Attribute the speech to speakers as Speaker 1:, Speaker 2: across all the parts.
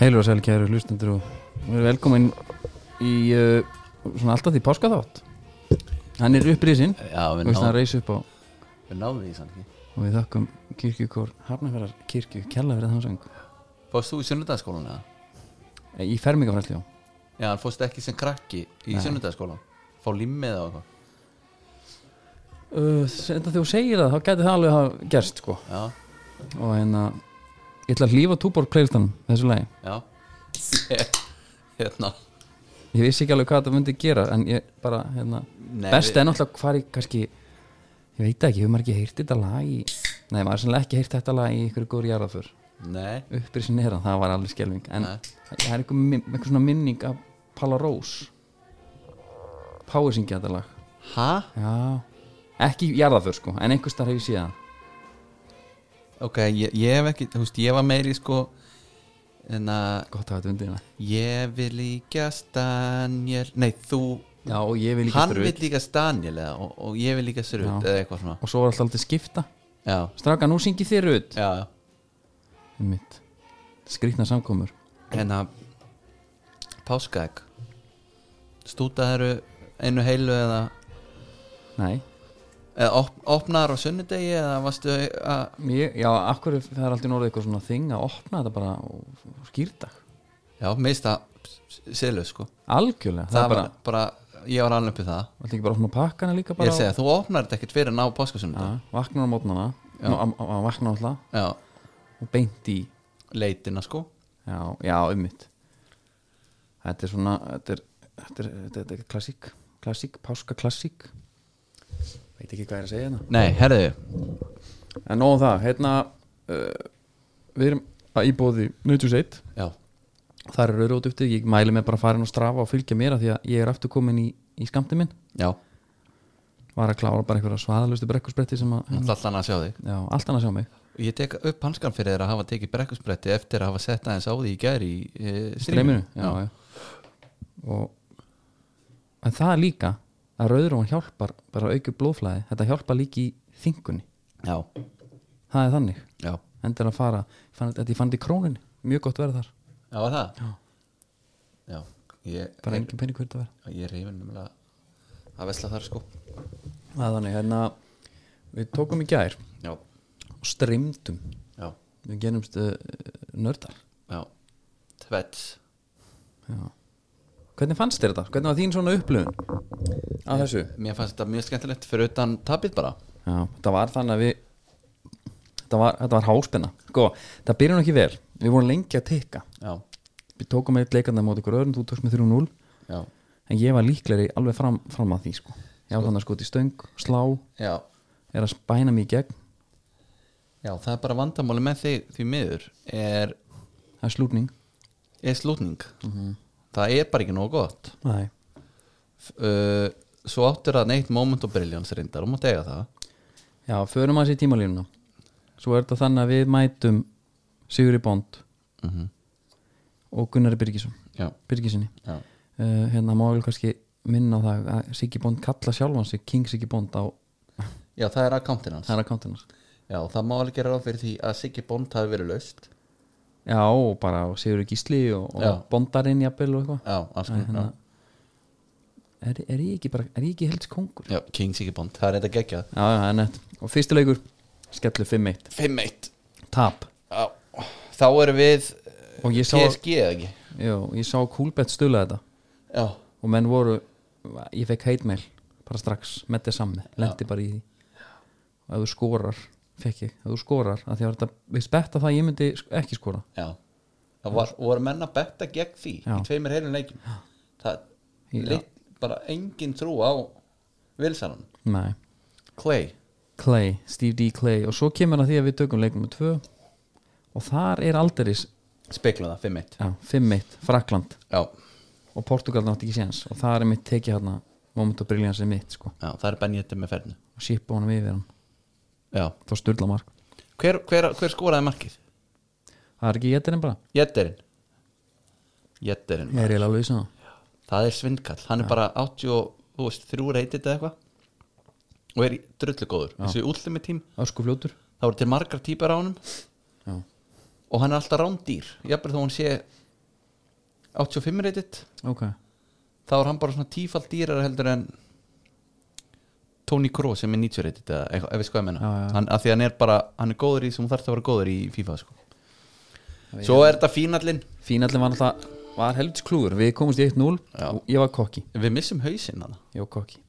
Speaker 1: Heilur og sæl kæru hlustendur og við erum velkomin í uh, svona alltaf því páskaþátt Hann er upprisin
Speaker 2: Já, við
Speaker 1: og það
Speaker 2: náðum,
Speaker 1: reys upp á
Speaker 2: við náðum því sann ekki
Speaker 1: og við þakkum kirkjukór Hafnarferðar kirkju kjalla fyrir þann söng
Speaker 2: Fórst þú í sunnudagaskólan eða?
Speaker 1: Eh, Í fermingafrælt já
Speaker 2: Já, hann fórst ekki sem krakki í
Speaker 1: Nei.
Speaker 2: sunnudagaskólan Fá limmið eða eitthvað
Speaker 1: uh, Þegar þú segir það þá gæti það alveg hafa gerst sko
Speaker 2: Já,
Speaker 1: og hérna ég ætla að hlýfa túborg playlistanum þessu lagi
Speaker 2: já Hérna
Speaker 1: Ég vissi ekki alveg hvað þetta myndi gera en ég bara hérna
Speaker 2: Nei,
Speaker 1: Best
Speaker 2: við-
Speaker 1: er náttúrulega hvar í kannski Ég veit það ekki, hefur maður ekki heyrt þetta lag í Nei, maður er sannlega ekki heyrt þetta lag í ykkur góður jarðaför
Speaker 2: Nei,
Speaker 1: upprisin er hann, það var alveg skelving en
Speaker 2: Nei.
Speaker 1: það er einhver, min- einhver svona minning af Palla Rós Páir syngja þetta lag
Speaker 2: ha?
Speaker 1: já, ekki jarðaför sko en einhver starf hef ég síðan
Speaker 2: Ok, ég, ég hef ekki, þú veist, ég var meiri sko En að
Speaker 1: gott að þetta undir hérna
Speaker 2: Ég vil líkast Daniel Nei, þú
Speaker 1: já, og ég vil líka
Speaker 2: Hann vil líkast Daniel eða og, og ég vil líkast Rut
Speaker 1: Já.
Speaker 2: eða eitthvað svona
Speaker 1: og svo var alltaf alltaf skipta
Speaker 2: Já,
Speaker 1: straka, nú syngi þér ut
Speaker 2: já, já
Speaker 1: mitt, skrýtna samkomur
Speaker 2: hérna páskaegg stútaðar einu heilu eða,
Speaker 1: nei,
Speaker 2: eða op, opnaðar á sunnudegi eða varstu eh, að
Speaker 1: ég, já, akkur það er alltaf orðið eitthvað svona þing að opna þetta bara og, og skýrtak
Speaker 2: já, mista silu sko
Speaker 1: algjörlega, það,
Speaker 2: það
Speaker 1: er bara,
Speaker 2: var bara, ég var alveg uppið það
Speaker 1: alltaf ekki bara að opna pakkana líka
Speaker 2: ég
Speaker 1: bara
Speaker 2: er að segja, þú opnar þetta ekkert fyrir en á páskasunnudegi
Speaker 1: Já, vaknar á mótnana
Speaker 2: Já.
Speaker 1: Nú, á- á- á- vaknar alltaf
Speaker 2: já,
Speaker 1: og beint í
Speaker 2: leitina sko
Speaker 1: já, já, ummitt þetta er svona þetta er, þetta er, þetta er, þetta er klassík klassík, páska klassík veit ekki hvað er að segja hérna
Speaker 2: nei, herðu,
Speaker 1: en nóðum það, hérna uh, við erum að íbóði Nautus 1
Speaker 2: já,
Speaker 1: þar eru rót upptið, ég mæli mig bara að fara inn og strafa og fylgja mér af því að ég er aftur komin í, í skamti minn,
Speaker 2: já
Speaker 1: var að klára bara einhverja svaðalustu brekkusbretti sem að,
Speaker 2: alltaf allan að sjá þig
Speaker 1: já, allt annað sjá mig
Speaker 2: ég tek upp hanskan fyrir þér að hafa tekið brekkusbretti eftir að hafa sett aðeins á því í gæri í e,
Speaker 1: streyminu já, já. og en það líka að rauðrón hjálpar bara að auka blóðflæði þetta hjálpar líka í þingunni
Speaker 2: já,
Speaker 1: það er þannig,
Speaker 2: já,
Speaker 1: endur að fara fann, þetta ég fann þetta í króninni, mjög gott verð þar
Speaker 2: já, var það
Speaker 1: Já.
Speaker 2: já, ég
Speaker 1: bara engin pening hvernig þetta verð
Speaker 2: ég er reyfin nefnilega að vesla þar sko
Speaker 1: það er þannig, hérna við tókum í gær
Speaker 2: já,
Speaker 1: og streymdum
Speaker 2: já,
Speaker 1: við genumst uh, nördar
Speaker 2: já tvets
Speaker 1: já. hvernig fannst þér þetta? hvernig var þín svona upplöfun að þessu?
Speaker 2: mér fannst þetta mjög skemmtilegt fyrir utan tapið bara
Speaker 1: Já, þetta var þannig að við þetta var, þetta var háspenna sko, það byrjum ekki vel, við vorum lengi að teika
Speaker 2: já,
Speaker 1: við tókum eitt leikandi á móti ykkur öðrum, þú tókst með 3-0
Speaker 2: já,
Speaker 1: en ég var líklegri alveg fram, fram að því sko. ég á þannig að skoti stöng, slá
Speaker 2: já
Speaker 1: er að spæna mig í gegn,
Speaker 2: já, það er bara vandamáli með þig því miður er,
Speaker 1: það er slútning
Speaker 2: er slútning það er bara ekki nógu gott
Speaker 1: Nei.
Speaker 2: F- uh, svo áttur að neitt moment og brilliance reyndar og mátt eiga það
Speaker 1: já, förum aðeins í tímalínuna svo er þetta þannig að við mætum Sigurði Bond
Speaker 2: mm -hmm.
Speaker 1: og Gunnari Birgisson
Speaker 2: já,
Speaker 1: Birgisinni,
Speaker 2: já,
Speaker 1: uh, hérna má við kannski minna á það að Siggi Bond kalla sjálfan sig King Siggi Bond á
Speaker 2: já, það er akkántin hans
Speaker 1: þær akkántinas
Speaker 2: já, það má alveg gera ráð fyrir því að Siggi Bond hafi verið laust
Speaker 1: Já, og bara og Sigur Gísli og,
Speaker 2: Já.
Speaker 1: og Bondarinn jafnvel og eitthvað
Speaker 2: já, alls konar
Speaker 1: Hérna. er, er ég ekki bara, er ég ekki helst kongur?
Speaker 2: já, King Siggi Bond, það er þetta geggjað
Speaker 1: Já, já, það er nett Og fyrsti leikur, skellu 5-1
Speaker 2: 5-1
Speaker 1: Tap
Speaker 2: Já, þá erum við
Speaker 1: Og ég sá,
Speaker 2: PSG eða ekki
Speaker 1: já, ég sá Kúlbett stula þetta
Speaker 2: Já,
Speaker 1: Og menn voru, ég fekk heitmeil Bara strax, með þess samni Lendi bara í því Og ef þú skorar, fekk ég Ef þú skorar, að því að þetta, við spetta það að ég myndi sk- ekki skora
Speaker 2: já Það var, voru menn að betta gegn því
Speaker 1: Já.
Speaker 2: í tveimur heilum leikjum Það
Speaker 1: Já.
Speaker 2: lit, bara engin trú á Vilsanan
Speaker 1: Nei
Speaker 2: Clay
Speaker 1: Clay, Steve D. Clay Og svo kemur að því að við tökum leikum með tvö Og þar er alderis
Speaker 2: Spekla það, 5-1
Speaker 1: Já, 5-1, Frakland
Speaker 2: Já.
Speaker 1: og Portugal nátti ekki séns og það er mitt tekið hérna moment of brilliance er mitt sko
Speaker 2: já, það er benni þetta með ferðinu
Speaker 1: og sípa honum yfir hann,
Speaker 2: Já
Speaker 1: þá sturla mark
Speaker 2: Hver, hver, hver skoraði markið?
Speaker 1: það er ekki getur en bara,
Speaker 2: Jetterinn Jetterinn
Speaker 1: ég er eiginlega alveg vissan það
Speaker 2: Það er svindkall, hann er bara 83 reytið eða eitthvað og er drullu góður þessi útlimi tím,
Speaker 1: ösku fljótur,
Speaker 2: það voru til margar típar á honum
Speaker 1: já,
Speaker 2: og hann er alltaf rándýr jafnvel þó hann sé 85 reytitt
Speaker 1: ok
Speaker 2: þá er hann bara svona tífald dýrar heldur en Tony Kroos sem er 90 reytitt eða eitthvað, ef við sko ég menna
Speaker 1: Já, já.
Speaker 2: hann, að því hann er bara, hann er góður í sem hún þarf að vera góður í FIFA sko. svo er þetta fínallinn
Speaker 1: Fínallin var alltaf var helvits klúður, við komumst í 1-0
Speaker 2: Já.
Speaker 1: og ég var kokki,
Speaker 2: við missum hausinn hann
Speaker 1: ég var kokki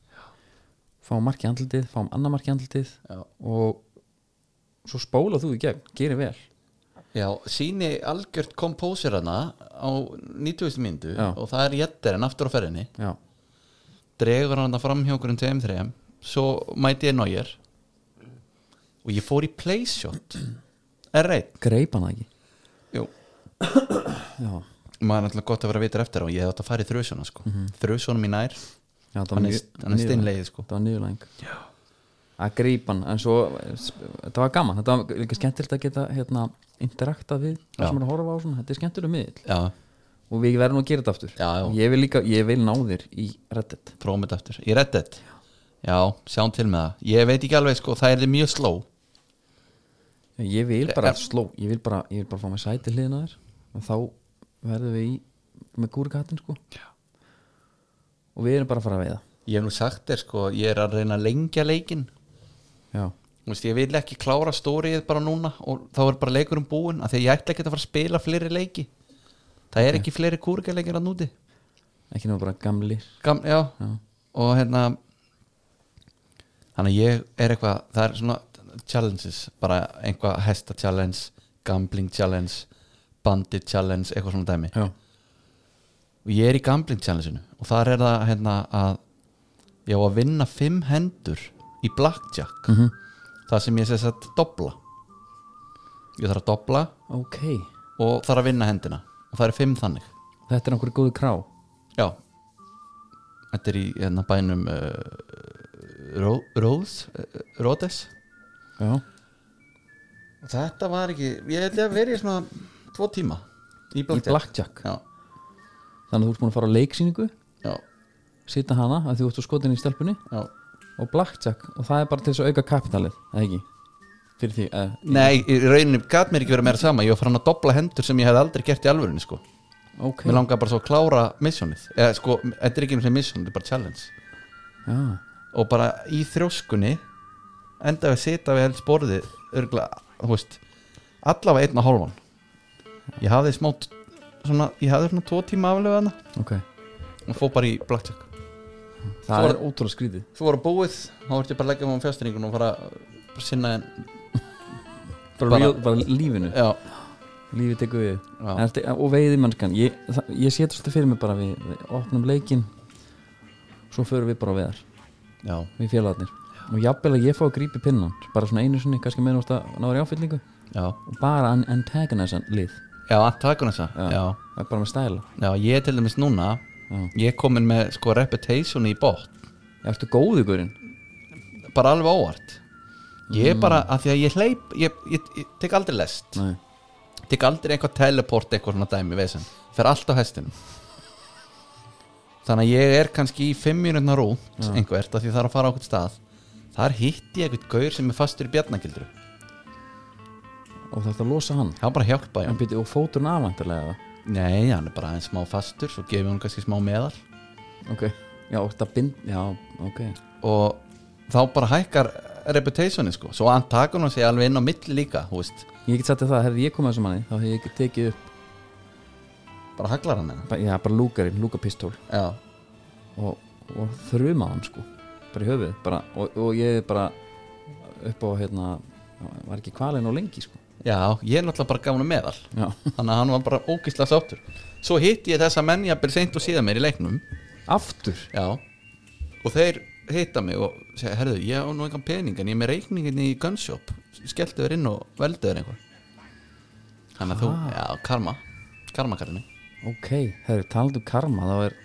Speaker 1: fáum marki andlitið, fáum annar marki andlitið
Speaker 2: já.
Speaker 1: og svo spóla þú í gegn, gerir vel
Speaker 2: já, síni algjört kompósir hann á 90. myndu
Speaker 1: Já.
Speaker 2: og það er Jetterinn aftur á ferðinni
Speaker 1: já,
Speaker 2: dregur hann það fram hjá okkur um 2-3 svo mæti ég nájir og ég fór í playshot R1
Speaker 1: greip hann það ekki
Speaker 2: Jú.
Speaker 1: já,
Speaker 2: maður er náttúrulega gott að vera vitur eftir á ég hef átt að fara í þrjósuna sko. mm í nær
Speaker 1: já það var
Speaker 2: hann er,
Speaker 1: niður-
Speaker 2: hann er
Speaker 1: niðurlæg-
Speaker 2: steinlegið sko.
Speaker 1: það var nýðurlæng að greipa hann, en svo þetta var gaman, þetta var líka skemmtilegt að geta hérna, interaktað við það
Speaker 2: Já.
Speaker 1: sem er að horfa á svona, þetta er skemmtileg miðl
Speaker 2: já,
Speaker 1: og við verðum að gera þetta aftur
Speaker 2: Já, já.
Speaker 1: ég vil líka, ég vil ná þér í reddit
Speaker 2: prófum þetta eftir í Red Dead já, sjáum til með það ég veit ekki alveg, sko, það er mjög sló
Speaker 1: ég vil bara
Speaker 2: Er-
Speaker 1: sló, ég vil bara, ég vil bara fá mig sæti hliðina á þér og þá verðum við í með gúrgatinn sko
Speaker 2: Já.
Speaker 1: og við erum bara að fara að veiða
Speaker 2: ég hef nú sagt þér, sko, ég er að reyna að lengja leikin
Speaker 1: já,
Speaker 2: Þú veist, ég vil ekki klára stórið bara núna og þá er bara leikur um búin af því að ég ætla ekki að fara að spila fleiri leiki það er ekki fleiri kúrgaleikir að núti
Speaker 1: ekki nú bara gamlir
Speaker 2: Gam, já. og hérna þannig að ég er eitthvað það er svona challenges bara einhvað hesta challenge gambling challenge, bandit challenge eitthvað svona dæmi
Speaker 1: já,
Speaker 2: og ég er í gambling challengeinu og þar er það hérna að ég á að vinna fimm hendur í blackjack
Speaker 1: Mhm.
Speaker 2: það sem ég sess að dobla ég þarf að dobla
Speaker 1: ok
Speaker 2: og þarf að vinna hendina og það er fimm þannig
Speaker 1: þetta er einhverju góðu krá
Speaker 2: Já Þetta er í hérna, bænum uh, Ró, Róðs uh, Róðes
Speaker 1: já,
Speaker 2: Þetta var ekki Ég held ég að vera í svona tvo tíma Í
Speaker 1: í blackjack
Speaker 2: Já,
Speaker 1: þannig að þú ert búin að fara á leiksýningu
Speaker 2: já,
Speaker 1: sita hana að þú ert úr skotinni í stelpunni
Speaker 2: já.
Speaker 1: og blackjack og það er bara til þess að auka kapitalið eða ekki fyrir því að
Speaker 2: Nei, í rauninni gat mér ekki verið meira sama Ég var farin að dobla hendur sem ég hef aldrei gert í alvörunni sko.
Speaker 1: ok,
Speaker 2: Mér langaði bara svo að klára missionið Eða sko, þetta er ekki einu sem mission, þetta er bara challenge
Speaker 1: já,
Speaker 2: og bara í þrjóskunni enda við að sita við helst borðið örgla, þú veist allavega einn og hálfan ég hafði smátt svona, ég hafði svona tvo tíma aflega hana
Speaker 1: ok
Speaker 2: og fó bara í blackjack
Speaker 1: það
Speaker 2: var-
Speaker 1: er ótrúlega skrítið
Speaker 2: þú voru búið, þá vart ég bara að leggja mig á fjástringun og fara að sinna en
Speaker 1: bara,
Speaker 2: Bara-
Speaker 1: bara, bara lífinu,
Speaker 2: já,
Speaker 1: lífið tekur við
Speaker 2: já,
Speaker 1: En þetta- og veiði mannskan ég, það- ég sé þetta svolítið fyrir mig bara við, við opnum leikin svo förum við bara á veðar
Speaker 2: já,
Speaker 1: við félagarnir og jafnvel að ég fá að grípi pinnan bara svona einu sinni, kannski meðan þú ert að náður í áfyllingu
Speaker 2: já
Speaker 1: og bara an antagonisan lið
Speaker 2: já, takun þessa, já. já
Speaker 1: Það er bara með stæla
Speaker 2: já, ég til dæmis núna
Speaker 1: Já.
Speaker 2: ég er komin með sko reputation í bótt
Speaker 1: Já, ertu góðu gurinn
Speaker 2: bara alveg óvart ég er bara, að því að ég hleyp ég, ég, ég tek aldrei lest
Speaker 1: Nei,
Speaker 2: tek aldrei eitthvað teleport eitthvað svona dæmi vesen, fer alltaf hestinum þannig að ég er kannski í fimm minutna rúnt einhvert af því það er að fara á okkur stað þar hitti ég eitthvað gaur sem er fastur í bjarnagildru
Speaker 1: og það er að losa hann
Speaker 2: það var bara að hjálpa
Speaker 1: En
Speaker 2: ég
Speaker 1: byrju, og fóturinn afvæntarlega
Speaker 2: nei, hann er bara einn smá fastur svo gefið hún kannski smá meðal
Speaker 1: Ok Já, og þetta bind Já, ok
Speaker 2: og þá bara hækkar reputationi sko, svo hann takur hann sig alveg inn á milli líka, þú veist,
Speaker 1: Ég get sagt þér það, hefði ég komið þessum manni þá hefði ég tekið upp
Speaker 2: bara haglar hann hennar
Speaker 1: ba- Já, bara lúkarinn, lúkapistól
Speaker 2: já,
Speaker 1: og, og þrjuma hann sko bara í höfuð bara, og, og ég er bara upp á hérna var ekki kvalinn og lengi sko
Speaker 2: já, ég er náttúrulega bara gaf hann meðal
Speaker 1: já.
Speaker 2: þannig að hann var bara ógislega sáttur svo hitti ég þessa menn jafnvel seint og síðan mér í leiknum
Speaker 1: aftur
Speaker 2: já og þeir hitta mig og segja herðu, ég á nú engan pening en ég er með reikningin í gunshop skelltu þér inn og veldu þér einhver þannig að þú, já, karma karma karni
Speaker 1: ok, það er talað um karma þá er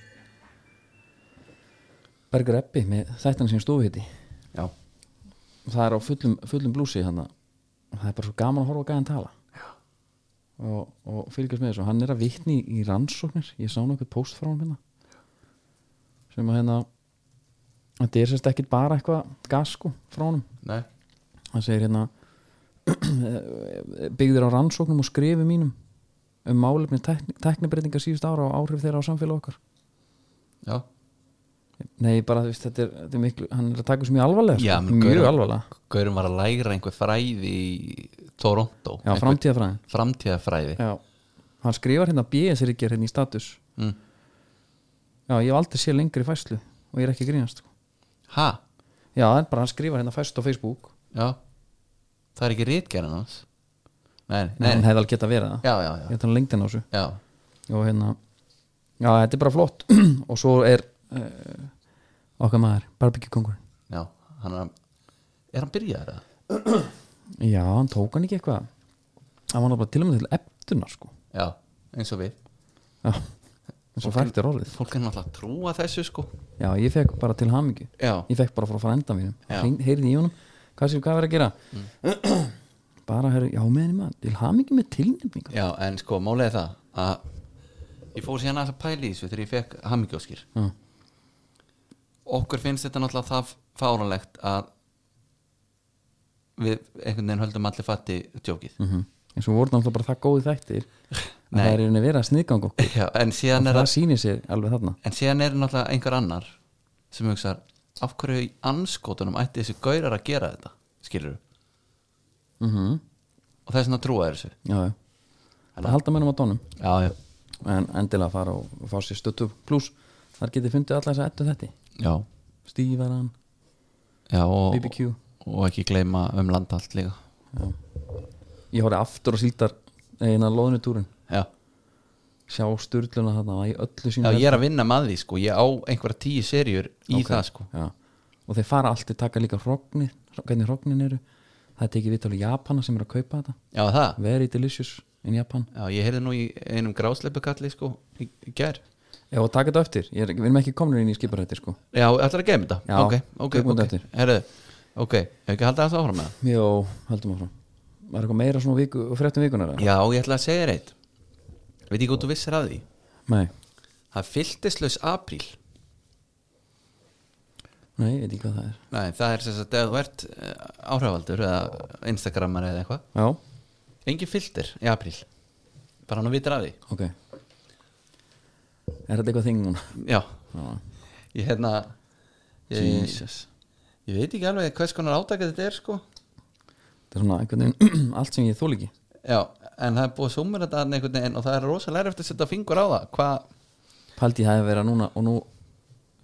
Speaker 1: Berger Eppi með þættan sem stofhiti
Speaker 2: já,
Speaker 1: það er á fullum, fullum blúsi hann það er bara svo gaman að horfa á gæðan tala og, og fylgjast með þessu hann er að vitni í rannsóknir ég sá nokkuð post frá hann hérna sem að hérna þetta er sérst ekkit bara eitthvað gas sko frá honum
Speaker 2: nei,
Speaker 1: hann segir hérna byggðir á rannsóknum og skrifi mínum um málefni tækni, tæknibreitinga síðust ára og áhrif þeirra á samfélag okkar
Speaker 2: já,
Speaker 1: Nei, bara þú veist, þetta er, þetta er miklu hann er að taka þessu mjög alvarlega sko.
Speaker 2: Já, menn,
Speaker 1: mjög
Speaker 2: gaur-
Speaker 1: alvarlega,
Speaker 2: Gaurum var að læra einhver fræði í Toronto
Speaker 1: já,
Speaker 2: einhver
Speaker 1: framtíðafræðin
Speaker 2: framtíðafræði
Speaker 1: Já, hann skrifar hérna BS ríkjar hérna í status
Speaker 2: mm.
Speaker 1: Já, ég hef aldrei séð lengri fæslu og ég er ekki að grínast sko.
Speaker 2: ha,
Speaker 1: Já, það er bara hann skrifar hérna fæslu á Facebook
Speaker 2: já það er ekki rítgerðan hans nei,
Speaker 1: Nei,
Speaker 2: nei,
Speaker 1: hann
Speaker 2: nei.
Speaker 1: hefði alveg getað að vera það
Speaker 2: já, já,
Speaker 1: Ég
Speaker 2: já,
Speaker 1: ætla hann lengdina á þessu
Speaker 2: já.
Speaker 1: og hérna, já, þetta er bara flott og svo er uh, okkar maður, barbekikongur
Speaker 2: já. Hann er, er hann byrjaður að
Speaker 1: Já, hann tók hann ekki eitthvað hann var náttúrulega til og með til eftunar sko
Speaker 2: já, eins og við
Speaker 1: Já, eins og fært er orðið
Speaker 2: fólk er náttúrulega að trúa þessu sko
Speaker 1: Já, ég fekk bara til hamingju
Speaker 2: já,
Speaker 1: Ég fekk bara frá frænda mínum
Speaker 2: Já. Mm.
Speaker 1: Hring- Heyrði í honum, hvað séu hvað verið að gera Bara heyrði, já meðin maður Til hamingju með tilnefningar
Speaker 2: já en sko, málið er það að ég fór síðan aðeins að pæla í þessu þegar ég fekk hammingjóskir
Speaker 1: Já,
Speaker 2: okkur finnst þetta náttúrulega það fáranlegt að við einhvern veginn höldum allir fatti djókið
Speaker 1: mm eins og voru náttúrulega bara það góði þættir að
Speaker 2: Nei.
Speaker 1: það er í rauninni verið að sniðgang okkur
Speaker 2: já, en síðan
Speaker 1: Það
Speaker 2: er, að,
Speaker 1: sýnir sér alveg þarna
Speaker 2: en síðan er náttúrulega einhver annar sem hugsa af hverju í anskotunum ætti þessi gaurar að gera þetta skilur
Speaker 1: mm -hmm.
Speaker 2: og það er svona að trúa þessu
Speaker 1: Já, já Það halda mennum á tónum
Speaker 2: já, já,
Speaker 1: En endilega fara og fá sér stöttu pluss Þar getið fundið alla þess að ettu þetta
Speaker 2: já,
Speaker 1: Stívaran,
Speaker 2: já og,
Speaker 1: BBQ
Speaker 2: og ekki gleyma um landa allt líka
Speaker 1: Já. Ég horfði aftur á síldar eina loðnutúrin
Speaker 2: já,
Speaker 1: sjá styrluna þarna var í öllu
Speaker 2: já
Speaker 1: sínu
Speaker 2: ég er að vinna með því sko, ég á einhverja tíu serjur í
Speaker 1: Ok.
Speaker 2: það sko
Speaker 1: Já. og þeir fara allt, þeir taka líka hrognir hvernig hrognin eru það er tekið viðtalið Japana sem eru að kaupa þetta
Speaker 2: já, það,
Speaker 1: Very delicious in Japan
Speaker 2: já, ég heyrði nú í einum grásleipukalli sko, í, í gær
Speaker 1: Já og taka þetta eftir, Ég er, við erum ekki komin inn í skiparætti sko
Speaker 2: Já, ætlar að gefa þetta?
Speaker 1: Já,
Speaker 2: ok, ok,
Speaker 1: tökum þetta
Speaker 2: ok,
Speaker 1: eftir.
Speaker 2: herðu Ok, hefur ekki haldið að það áfram með það?
Speaker 1: Jó, höldum áfram Var eitthvað meira svona viku, fréttum vikunar eða?
Speaker 2: Já, ég ætla að segja þér eitt Veit ekki hvað þú vissir að því
Speaker 1: Nei,
Speaker 2: Það er fylltislaus apríl
Speaker 1: nei, ég veit ekki hvað það er
Speaker 2: Nei, það er sem sagt að þú ert eh, áhrifaldur eða Instagramar eða eitthvað
Speaker 1: Já,
Speaker 2: Engin fylltir í apríl Bara hann að vitir að því
Speaker 1: ok Er þetta eitthvað þing núna?
Speaker 2: Já,
Speaker 1: Já.
Speaker 2: ég hérna ég,
Speaker 1: Jesus
Speaker 2: ég veit ekki alveg hvers konar átaka þetta er sko
Speaker 1: Þetta er svona einhvern veginn allt sem ég þól ekki
Speaker 2: Já, en það er búið að súmur þetta þarna einhvern veginn og það er rosalega eftir að setja fingur á það Hvað,
Speaker 1: Paldi það að vera núna og nú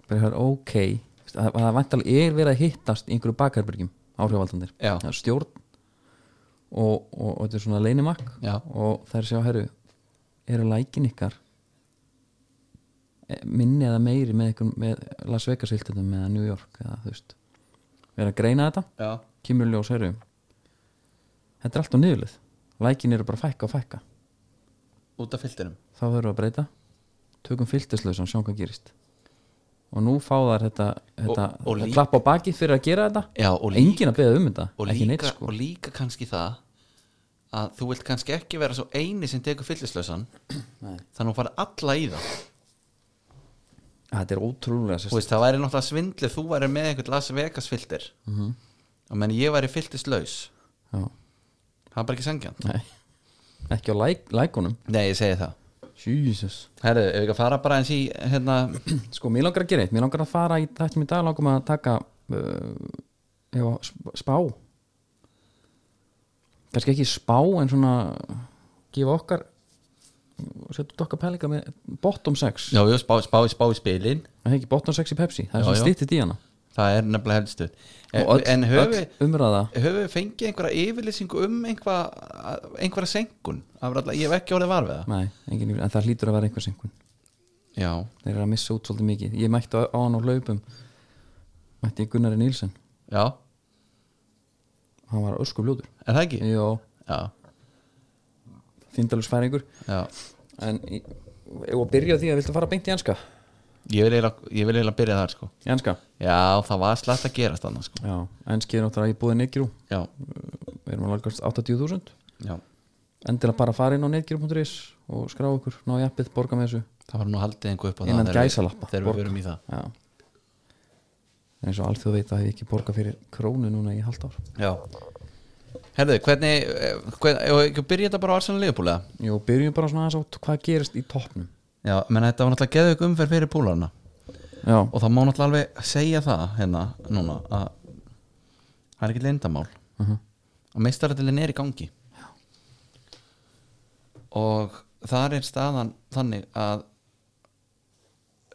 Speaker 1: bara hér, ok Veist, það það vantalega er verið að hittast í einhverju bakherbergjum áhrifavaldandir
Speaker 2: Já.
Speaker 1: Það er stjórn og, og, og þetta er svona leinimakk
Speaker 2: Já.
Speaker 1: og það er sjá, herru eru lækin ykkar eh, minni eða meiri með, ykkur, með Las Vegas hiltendum eða New York eða þú veist vera að greina þetta,
Speaker 2: já,
Speaker 1: kemur í ljós herru þetta er allt á niðurlið lækin eru bara að fækka og fækka
Speaker 2: út af fylltinum
Speaker 1: þá verður við að breyta tökum filterslausan, sjáum hvað gerist og nú fá þær þetta, þetta
Speaker 2: Og- og líka-
Speaker 1: klapp á baki fyrir að gera þetta
Speaker 2: Já, og
Speaker 1: engin að beða um þetta,
Speaker 2: og
Speaker 1: ekki
Speaker 2: líka,
Speaker 1: neitt sko
Speaker 2: og líka kannski það að þú vilt kannski ekki vera svo eini sem tekur fyllislausan þannig að þú farið alla í það
Speaker 1: þetta er ótrúlega
Speaker 2: Þú
Speaker 1: sérst
Speaker 2: veist, það væri náttúrulega svindlu þú væri með einhvern Las Vegas filter mm -hmm. og menn ég væri fylltislaus
Speaker 1: Já,
Speaker 2: það er bara ekki sangjan
Speaker 1: nei. ekki á læk- lækunum
Speaker 2: nei ég segi það
Speaker 1: Jesus.
Speaker 2: herru, ef við ekki að fara bara eins í hérna,
Speaker 1: sko, mér langar að gera eitt, mér langar að fara í þættum í dag langum að taka uh, eða sp- spá kannski ekki spá en svona gefa okkar setja út okkar pælinga með bottom 6
Speaker 2: já, já, spá, spá, spá í spilin
Speaker 1: Það er ekki bottom 6 í Pepsi, það er
Speaker 2: Já,
Speaker 1: svona
Speaker 2: já.
Speaker 1: stýttið í hana
Speaker 2: það er nefnilega helstu en,
Speaker 1: og öll,
Speaker 2: en höfum við
Speaker 1: öll umræða
Speaker 2: höfum við fengið einhverja yfirlýsingu um einhverja, einhverja senkun Af alla- ég hef ekki orðið var við það
Speaker 1: Nei, engin, en það hlýtur að vera einhvers einhvern
Speaker 2: já,
Speaker 1: þeir eru að missa út svolítið mikið ég mætti á, á hann á hlaupum mætti ég Gunnari Nílsen
Speaker 2: já,
Speaker 1: hann var ösku bljóður
Speaker 2: er það ekki?
Speaker 1: Jó,
Speaker 2: já
Speaker 1: þindalus færingur
Speaker 2: Já,
Speaker 1: en í- ef að byrja á því að viltu fara beint í enska
Speaker 2: ég vil eiginlega, ég vil eiginlega byrja þar sko
Speaker 1: í enska?
Speaker 2: Já, það var slætt að gerast þannig sko
Speaker 1: Já, enski er náttúrulega í búið Negru
Speaker 2: Já,
Speaker 1: við erum að lagast 80.000
Speaker 2: já
Speaker 1: endilega bara fara inn á negru.is og skrá okkur, ná í appið, borga með þessu
Speaker 2: Það var nú haldið einhver upp á það
Speaker 1: Innan
Speaker 2: þegar við-
Speaker 1: gæsalappa,
Speaker 2: Þegar
Speaker 1: borg.
Speaker 2: við verum í það
Speaker 1: Já En eins og alþjóð veit að hef ég ekki borgað fyrir krónu núna í halvt ár
Speaker 2: Já Herðu, hvernig, eh, hvern, ef við ekki að byrja þetta bara á Arsenal Leifupúlega?
Speaker 1: Jó, byrjum bara svona aðeins á t- hvað gerist í toppnum
Speaker 2: Já, menn þetta var náttúrulega geðug umferð fyrir púlarna
Speaker 1: Já,
Speaker 2: og það má náttúrulega alveg segja það hérna núna að það er ekki leyndamál að meistaratilin er í gangi Mhm. Já. og þar er staðan þannig að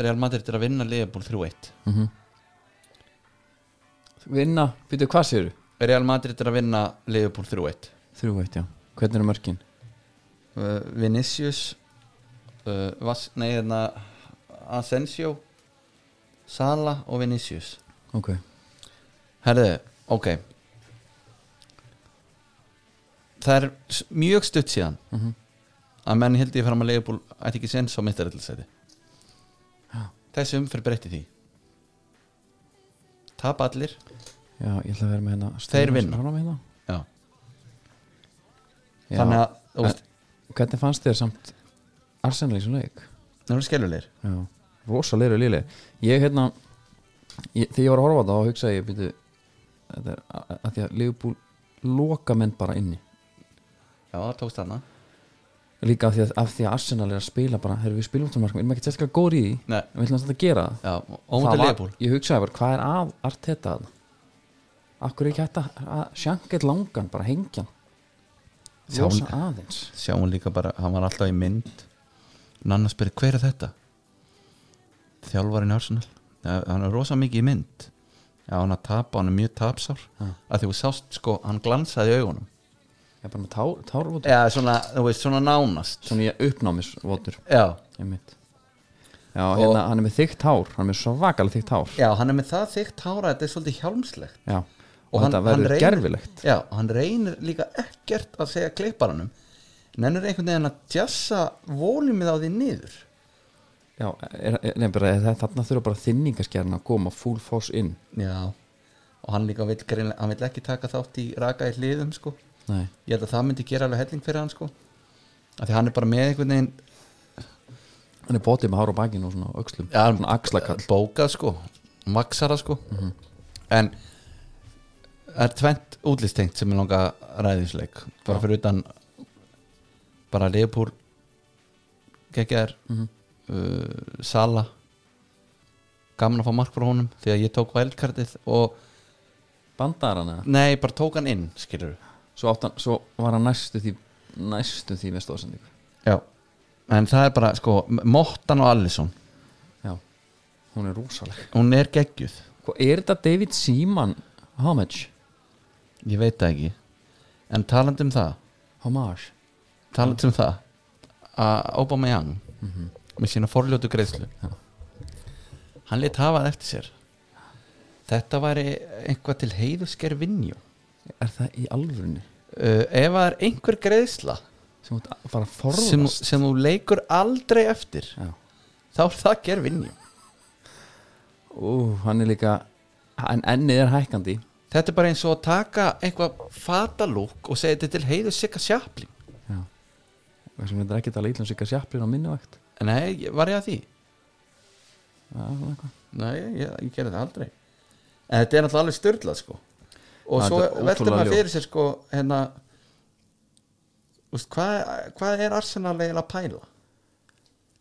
Speaker 2: Real Madrid er að vinna Leifbúl 3-1
Speaker 1: vinna, byrju, hvað séru?
Speaker 2: Real Madrid er að vinna Leifbúl 3-1
Speaker 1: Þrjú eitt, já, hvernig eru mörkin?
Speaker 2: uh, Vinicius uh, Vas, nei, hérna Asensio Sala og Vinicius
Speaker 1: Ok,
Speaker 2: Herðu, ok Það er s- mjög stutt síðan
Speaker 1: Mhm.
Speaker 2: að menn hildi ég fram að leiðbúl ætti ekki sens á mittarellisæti
Speaker 1: Já.
Speaker 2: Þessi umferð breytti því Tap allir
Speaker 1: já, ég ætla að vera með hérna
Speaker 2: Þeir vinna.
Speaker 1: Svona með hérna.
Speaker 2: Já.
Speaker 1: Já.
Speaker 2: Þannig að þú veist,
Speaker 1: Hvernig fannst þér samt Arsenal í svona leik?
Speaker 2: það eru skellulegir
Speaker 1: Já, rosalegri líli Ég hérna ég, Þegar ég var að horfa á það þá hugsaði ég byrju, Þetta er að, að því að Liverpool loka menn bara inni
Speaker 2: Já, það tókst hana
Speaker 1: Líka af því að, af því að Arsenal er að spila bara Herru við spilum út um markum, erum ekki sérstaklega góður í því
Speaker 2: Nei,
Speaker 1: En við ætlum samt að gera það
Speaker 2: já, ómönda
Speaker 1: var-
Speaker 2: leiðbúl
Speaker 1: Ég hugsaði bara, hvað er að Arteta þarna? Akkur er ekki hægt að, að sjanga eitt langan, bara hengjan
Speaker 2: Sjá-
Speaker 1: Ljósa aðeins
Speaker 2: Sjáum líka bara, hann var alltaf í mynd Nanna spyrir, hver er þetta? Þjálfarinn í Arsenal ja, Hann er rosa mikið í mynd Já, hann að tapa, hann er mjög tapsár
Speaker 1: Já.
Speaker 2: að því þú sást, sko, hann glansaði í augunum
Speaker 1: Ég er bara með tár, tárvotur
Speaker 2: Já, svona, þú veist, svona nánast
Speaker 1: Svona ég uppnámisvotur
Speaker 2: Já,
Speaker 1: einmitt. Já, hérna, hann er með þykkt hár Hann er með svakalega þykkt hár
Speaker 2: já, hann er með það þykkt hára Þetta er svolítið hjálmslegt
Speaker 1: Já, og,
Speaker 2: Og hann-
Speaker 1: þetta
Speaker 2: hann
Speaker 1: verður
Speaker 2: reynir-
Speaker 1: gerfilegt
Speaker 2: Já, hann reynir líka ekkert að segja klipparanum Nennir einhvern veginn að djassa volumið á því niður
Speaker 1: Já, er, er, nefnir, er, það- þarna þurfa bara þinningaskerna að koma full force inn
Speaker 2: Já, og hann líka vill, greinilega- hann vill ekki taka þátt í raka í hliðum, sko
Speaker 1: Nei,
Speaker 2: ég held að það myndi gera alveg helling fyrir hann sko af því hann er bara með einhvern veginn
Speaker 1: hann er bótið með hár á bakinu og svona á öxlum
Speaker 2: Já, hann-
Speaker 1: Svona axlakall
Speaker 2: bókað sko, maksara sko
Speaker 1: Mhm.
Speaker 2: en það er tvent útlistengt sem er langa ræðinsleik bara
Speaker 1: Já.
Speaker 2: fyrir utan bara Leopold geggjær
Speaker 1: Mhm.
Speaker 2: uh, Sala gaman að fá mark frá honum því að ég tók vælkartið og
Speaker 1: Bandar hann eða?
Speaker 2: nei, bara tók hann inn skilur
Speaker 1: Svo, átti hann, svo var hann næstu því næstu því með stóðsendingu
Speaker 2: já en það er bara sko, Mottan og Allison
Speaker 1: Já, hún er rosaleg
Speaker 2: hún er geggjuð
Speaker 1: Hvað er þetta David Seaman homage?
Speaker 2: Ég veit það ekki En talandi um það
Speaker 1: Homage?
Speaker 2: Talandi um það Að Aubameyang Með sína forljótu greiðslu
Speaker 1: Já.
Speaker 2: Hann létt hafa það eftir sér Þetta væri einhvað til heiðusker vinnjó
Speaker 1: Er það í alvörunni?
Speaker 2: uh, Ef það er einhver greiðsla
Speaker 1: Sem hún bara
Speaker 2: sem,
Speaker 1: forðast?
Speaker 2: sem þú leikur aldrei eftir
Speaker 1: Já
Speaker 2: Þá er það ger vinnjó
Speaker 1: Ú, hann er líka En ennið er hækkandi
Speaker 2: Þetta er bara eins og að taka eitthvað fatalúk og segja þetta er til heiðu sikka sjapling
Speaker 1: Já Þessum þetta er ekki tala ítlum sig að sjaplir á minnuvægt
Speaker 2: Nei, ég- var ég að því?
Speaker 1: Já, svona eitthvað
Speaker 2: Nei, ég, ég gerði það aldrei En þetta er náttúrulega alveg styrlað sko Og
Speaker 1: Já,
Speaker 2: svo
Speaker 1: þetta er
Speaker 2: veldur
Speaker 1: ótrúlega
Speaker 2: maður
Speaker 1: ljótt.
Speaker 2: fyrir sér sko hérna úst, hvað, hvað er Arsenal eiginlega að pæla?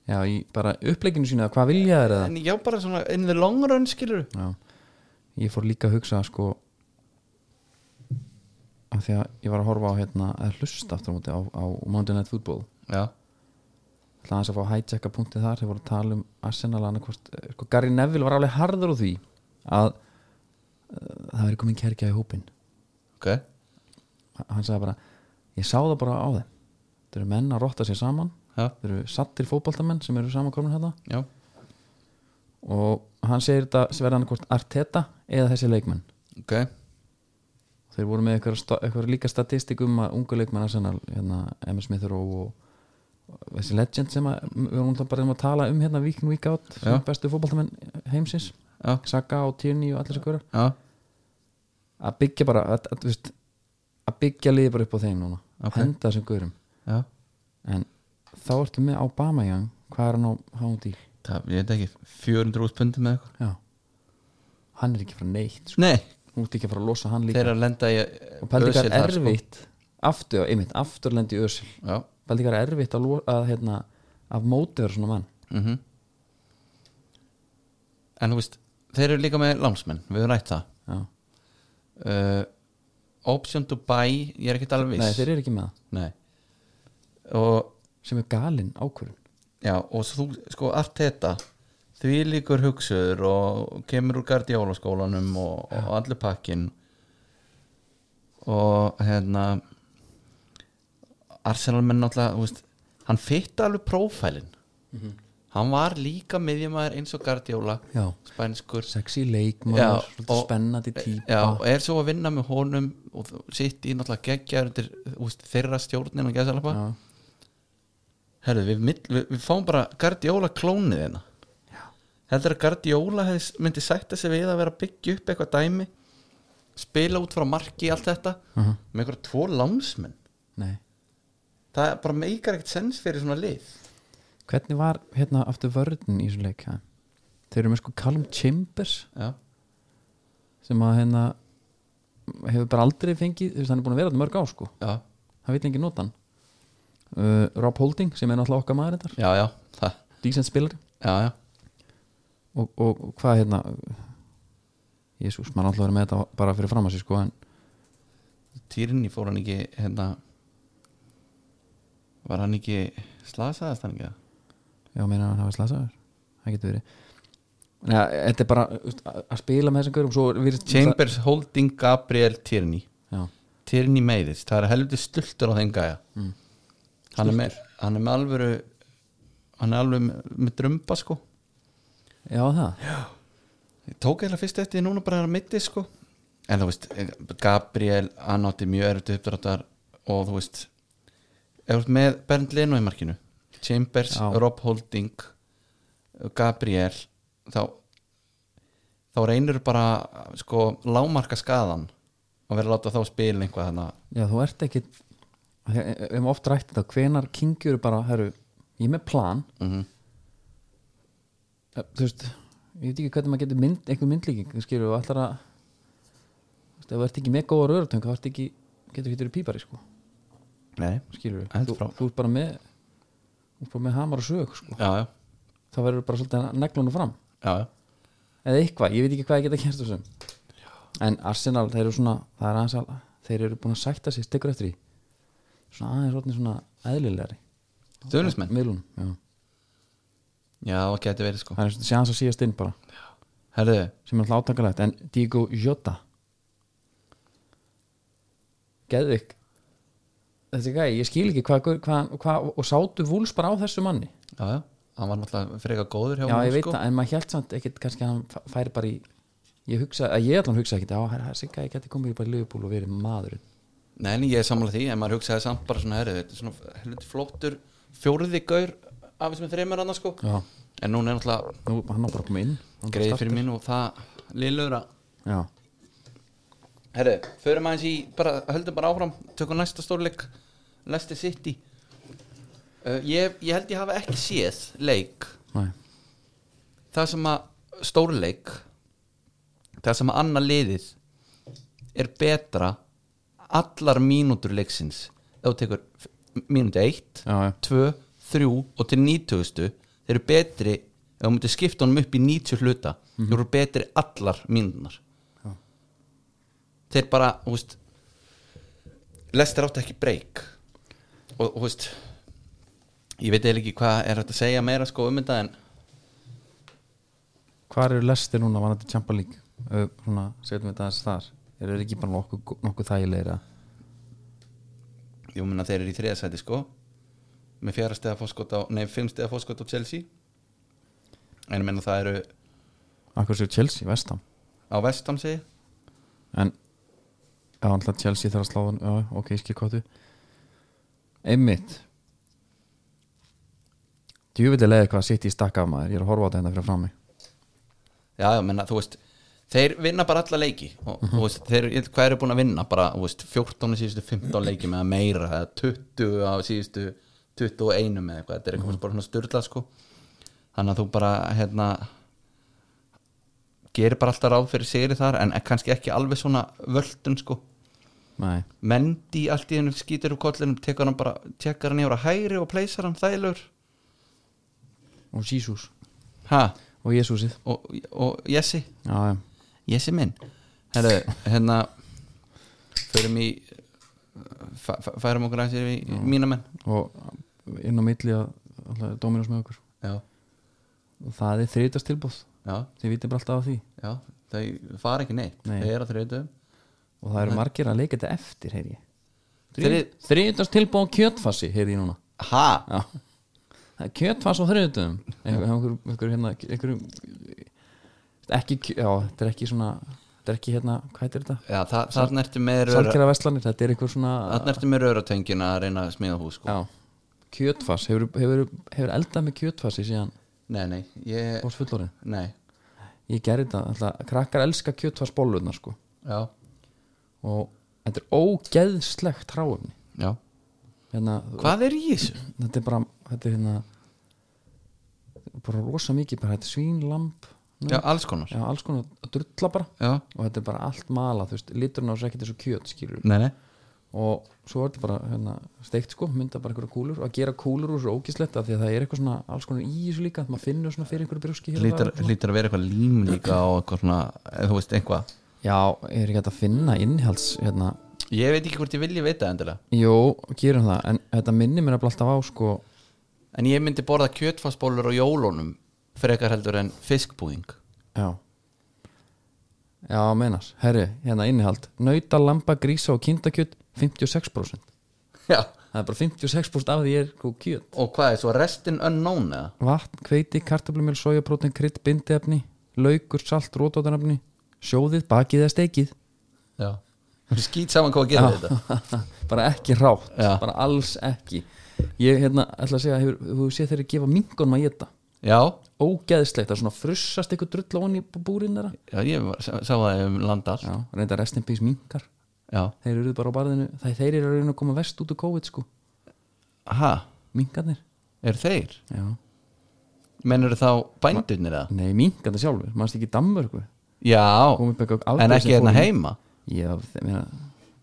Speaker 1: Já, í bara uppleikinu sínu eða hvað vilja þér eða
Speaker 2: En já bara svona in the long run skilur
Speaker 1: Já Ég fór líka að hugsa sko af því að ég var að horfa á hérna að hlusta aftur á móti á, á Monday Night Football
Speaker 2: Já,
Speaker 1: Það aðeins að fá hijacka punktið þar þeir voru að tala um Arsenal annarkvort sko, Gary Neville var alveg harður úr því að uh, það veri komin kerkja í hópinn
Speaker 2: ok
Speaker 1: H- hann sagði bara ég sá það bara á þeim þeir eru menn að rotta sér saman
Speaker 2: Já,
Speaker 1: þeir eru sattir fótboltamenn sem eru samankomin hérna
Speaker 2: já,
Speaker 1: og hann segir þetta verða hann hvort Arteta eða þessi leikmenn
Speaker 2: ok
Speaker 1: þeir voru með eitthvað líka statistik um að ungu leikmenn Arsenal hérna, MS Smith Rowe og og þessi legend sem að, við vorum alltaf bara um að tala um hérna week in week out sem
Speaker 2: Já.
Speaker 1: bestu fótboltamenn heimsins
Speaker 2: Já,
Speaker 1: Saka og Tierney og allir þessi hverjar
Speaker 2: já,
Speaker 1: að byggja bara að, að, þú veist, að byggja liði bara upp á þeim núna
Speaker 2: Ok.
Speaker 1: henda þessum hverjum
Speaker 2: já
Speaker 1: en þá ertu með Aubameyang hvað er hann á hánd í
Speaker 2: Það, ég veit ekki, 400 úr pundi með eitthvað
Speaker 1: já. hann er ekki frá neitt sko.
Speaker 2: Nei,
Speaker 1: hún ert ekki að fara að losa hann líka
Speaker 2: þeir eru að lenda í
Speaker 1: og pældingar
Speaker 2: ösil þar, sko.
Speaker 1: erfitt aftur, einmitt, aftur lendi í ösil
Speaker 2: já,
Speaker 1: pældingar erfitt að, lo- að hérna, af móti vera svona mann
Speaker 2: mhm en þú veist, þeir eru líka með lánsmenn við höfum rætt það
Speaker 1: Já.
Speaker 2: uh, option to buy ég er ekkert alveg
Speaker 1: nei,
Speaker 2: viss
Speaker 1: þeir eru ekki með það,
Speaker 2: Nei. og
Speaker 1: sem er galinn ákvörðun
Speaker 2: já, og svo þú, sko, allt þetta því líkur hugsuður og kemur úr gardjólaskólanum og, og allir pakkin og hérna Arsenal menn náttúrulega, þú veist, hann fitta alveg prófælin
Speaker 1: Mhm.
Speaker 2: hann var líka miðjumæður eins og gardjóla
Speaker 1: já,
Speaker 2: spænskur
Speaker 1: sexy
Speaker 2: Já,
Speaker 1: leikmaður svolítið
Speaker 2: og-
Speaker 1: spennandi típa
Speaker 2: Já, og er svo að vinna með honum og sitt í náttúrulega geggjaður undir þú veist, þeirra stjórnin og geðsalapa
Speaker 1: Já.
Speaker 2: Herðu, við, mill- við, við fáum bara Guardiola klónið hérna Heldur að Guardiola hefði, myndi sætta sig við að vera að byggja upp eitthvað dæmi spila út frá marki allt þetta
Speaker 1: Mhm.
Speaker 2: með einhverja tvo lánsmenn
Speaker 1: nei
Speaker 2: það bara meikar ekkert sens fyrir svona lið
Speaker 1: Hvernig var hérna aftur vörðin í þessum leik? Ha? Þeir eru með sko Callum Chambers
Speaker 2: Já,
Speaker 1: sem að hérna hefur bara aldrei fengið, þú veist hann er búin að vera þetta mörg á sko,
Speaker 2: já,
Speaker 1: hann vil ekki nota hann uh, Rob Holding sem er náttúrulega okkar maður þetta,
Speaker 2: já, já, það,
Speaker 1: decent spilari
Speaker 2: já, já.
Speaker 1: og, og og hvað hérna Jésús, maður alltaf verið með þetta bara fyrir fram að sér sko en
Speaker 2: Týrinni fór hann ekki hérna var hann ekki slasaðast hann ekki það?
Speaker 1: já, meina hann hafa slasaður, það getur verið Nei, þetta er bara þú veist, að að spila með þessum görum, svo virðist
Speaker 2: Chambers Holding Gabriel Tierney
Speaker 1: Já,
Speaker 2: Tierney meiðist, það er helviti stultur á þeim gæja hann, er með, hann er með alvöru hann er alveg með, með drömba sko
Speaker 1: já það,
Speaker 2: ég tók eða fyrst eftir því núna bara að mitti sko en þú veist, eh, Gabriel hann átti mjög erfti uppdráttar og þú veist ef þú ert með Bernd Leno í markinu Chambers,
Speaker 1: Já.
Speaker 2: Rob Holding Gabriel þá þá reynir bara sko lámarka skaðan og verður að láta þá spila einhvað þannig að
Speaker 1: já þú ert ekki Af því að eh, við höfum oft rætt þetta, hvenar kingjur bara, herru, ég er með plan Eh,
Speaker 2: Mhm.
Speaker 1: þú veist, ég veit ekki hvernig maður getur mynd, einhver myndlíking, skilur við allar að þú veist, ef þú ert ekki með góða rörutöng, þá ert ekki, getur ekki verið pípari, sko,
Speaker 2: Nei,
Speaker 1: skilur við
Speaker 2: Heldur
Speaker 1: þú,
Speaker 2: frá.
Speaker 1: þú ert bara með þú ert bara með hamar og sög, sko
Speaker 2: já, já,
Speaker 1: þá verður bara svolítið að negla honu fram
Speaker 2: já, já.
Speaker 1: eða eitthvað, ég veit ekki hvað ég geta kert þessum en Arsenal, þeir eru svona það er aðeins að, þeir eru búin að sætta sig stikkur eftir í svona aðeins orðnir svona eðlilegri
Speaker 2: Stuðningsmenn?
Speaker 1: miðlunum, já.
Speaker 2: Já, það getur verið sko
Speaker 1: það er sjans að síðast inn bara
Speaker 2: Herðu,
Speaker 1: sem er alltaf átakalegt en Diego Jota Geðvik þessi gæði, ég skil ekki hvað hva, hva, og sátu vúls bara á þessu manni
Speaker 2: já, já, hann var náttúrulega frekar góður hjá
Speaker 1: já,
Speaker 2: honum,
Speaker 1: ég veit
Speaker 2: sko.
Speaker 1: það, en maður held samt ekkit kannski að hann fa- færi bara í ég hugsa, að ég allan hugsa ekkit, já, herra, þessi gæði geti komið bara í liðbúl og verið maðurinn
Speaker 2: Nei, en ég er sammála því, en maður hugsaði samt bara svona herðu, þetta er svona helviti flottur fjóriði gaur af þessum þreymur annars sko
Speaker 1: já,
Speaker 2: En núna er náttúrulega
Speaker 1: nú, hann á bara að koma inn Hann bara
Speaker 2: greið
Speaker 1: startar.
Speaker 2: fyrir minn og það liðlur að
Speaker 1: já,
Speaker 2: Herðu, förum aðeins í, bara, höldum bara áfram tökum næsta stórleik, Leicester City uh, ég, ég held ég hafa ekki séð leik
Speaker 1: næ,
Speaker 2: það sem að stórleik það sem að annað liðið er betra allar mínútur leiksins ef þú tekur f- mínútu 1
Speaker 1: já, já,
Speaker 2: 2, 3 og til 90 þeir eru betri ef þú myndir skipta honum upp í 90 hluta þeir eru betri allar mínútunar
Speaker 1: Mhm. Já.
Speaker 2: þeir bara þú veist lestir átt ekki breyk og þú veist ég veit eða ekki hvað er hægt að segja meira sko um þetta en
Speaker 1: hvar eru lestir núna var þetta Champa League Ö, svona, setjum við þetta aðeins þar eru þeir ekki bara nokkuð, nokkuð þægilegir að
Speaker 2: Jú, menna þeir eru í þriðasæti sko með fjara steða fórskot á nei, fimm steða fórskot á Chelsea en ég menna það eru
Speaker 1: akkur séu Chelsea, vestam
Speaker 2: á vestam segi ég.
Speaker 1: en já, alltaf Chelsea þarf að slá hann já, ok, ég skil hvað þú einmitt djúvillilega hvað sitt í stakka af maður ég er að horfa á þetta hérna fyrir frammi
Speaker 2: já, já, menna, þú veist þeir vinna bara alla leiki og þú veist, þeir, hvað eru búin að vinna bara, þú veist, 14 af síðustu 15 leiki með meira eða 20 á síðustu 21 með eitthvað, þetta er eitthvað bara svona styrla sko þannig að þú bara, hérna gerir bara alltaf ráð fyrir sigri þar en kannski ekki alveg svona völdun sko
Speaker 1: Nei,
Speaker 2: Mendy allt í hennu skýtur úr kollinum tekur hann bara, tekkar hann yfir að hægri og pleysar hann þælur
Speaker 1: og Jísús
Speaker 2: ha,
Speaker 1: og Jésúsið
Speaker 2: og, og Jesse
Speaker 1: Já, já,
Speaker 2: Jesse minn Herru, hérna förum í fæ- fæ- færum okkur aðeins yfir í mína menn
Speaker 1: og inn á milli að alltaf Dominos með okkur
Speaker 2: já,
Speaker 1: og það er þrítast tilbúð
Speaker 2: já,
Speaker 1: þið vitið bara alltaf af því
Speaker 2: já þau fara ekki neitt,
Speaker 1: Nei.
Speaker 2: þau eru að þrjóðum
Speaker 1: og það eru margir að leika þetta eftir, heyr ég þrítast tilbúð á kjötfassi, heyr ég núna
Speaker 2: ha,
Speaker 1: Já Það er kjötfass á þriðutum einhver, einhver, hérna, einhver, ekki, kjö- já, þetta er ekki svona þetta er ekki hérna, hvað heitir þetta?
Speaker 2: já, þa þarna ertu með röra-
Speaker 1: Salkjara verslanir, þetta er einhver svona
Speaker 2: þarna ertu með röratöngin að reyna að smíða hús sko.
Speaker 1: já, kjötfass, hefur, hefur, hefur eldað með kjötfassi síðan
Speaker 2: nei, nei, ég
Speaker 1: bóðs fullorinn
Speaker 2: nei,
Speaker 1: ég gerði þetta, alltaf, krakkar elska kjötfass bólurnar sko
Speaker 2: já,
Speaker 1: og þetta er ógeðslegt hráefni
Speaker 2: já
Speaker 1: hérna,
Speaker 2: hvað er í þessu?
Speaker 1: þetta er bara þetta er hérna bara rosa mikið, bara þetta er svínlamb
Speaker 2: já, alls konar
Speaker 1: já, alls konar að drulla bara
Speaker 2: já,
Speaker 1: og þetta er bara allt mala þú veist, liturinn á þessu ekkert þessu kjöt skilur
Speaker 2: nei, nei
Speaker 1: og svo er þetta bara hérna, steikt sko, mynda bara einhverja kúlur og að gera kúlur úr þessu ógislegt af því að það er eitthvað svona alls konar í þessu líka, maður finnur svona fyrir einhverju brjóski hér og
Speaker 2: lítur,
Speaker 1: þar og svona.
Speaker 2: lítur að vera eitthvað lím líka og eitthvað svona, eða þú veist, eitthvað
Speaker 1: já, er ekki hægt að finna innihalds hérna,
Speaker 2: ég veit ekki hvort ég vilja vita endilega
Speaker 1: jú, gerum það en þetta minnir mér að alltaf á sko
Speaker 2: en ég myndi borða kjötfassbólur á jólunum frekar heldur en fiskbúðing
Speaker 1: já já, meinas, herri, hérna innihald nauta, lamba, grísa og kindakjöt 56%
Speaker 2: já,
Speaker 1: það er bara 56% af því er sko kjöt
Speaker 2: og hvað er svo restin unknown eða?
Speaker 1: vatn, hveiti, kartablumjöl, sojaprótin, krydd, bindiefni, laukur, salt, rótótanefni, sjóðið, bakið eða steikið.
Speaker 2: já, skýt saman hvað að gera þetta
Speaker 1: bara ekki rátt,
Speaker 2: Já.
Speaker 1: bara alls ekki. Ég hérna, ætla að segja, hefur, þú sé þeirri gefa mingunum að geta.
Speaker 2: já,
Speaker 1: Ógeðslegt, það er svona frussast eitthvað drull á hann í búrin þeirra.
Speaker 2: já, ég var- sá sá það um landar
Speaker 1: Já, reynda restin bís minkar.
Speaker 2: já,
Speaker 1: Þeir eru bara á barðinu, þeir, þeir eru að reyna að koma vest út úr COVID sko,
Speaker 2: ha,
Speaker 1: minkarnir.
Speaker 2: er þeir?
Speaker 1: Já.
Speaker 2: mennur þá bændurnir eða?
Speaker 1: Nei, minkarnir sjálfur, mannst ekki í Danmörku.
Speaker 2: já,
Speaker 1: Komið upp eitthvað
Speaker 2: en
Speaker 1: afbrigði
Speaker 2: ekki
Speaker 1: sem
Speaker 2: hérna
Speaker 1: fóru í-
Speaker 2: heima
Speaker 1: Já, þeir, meina,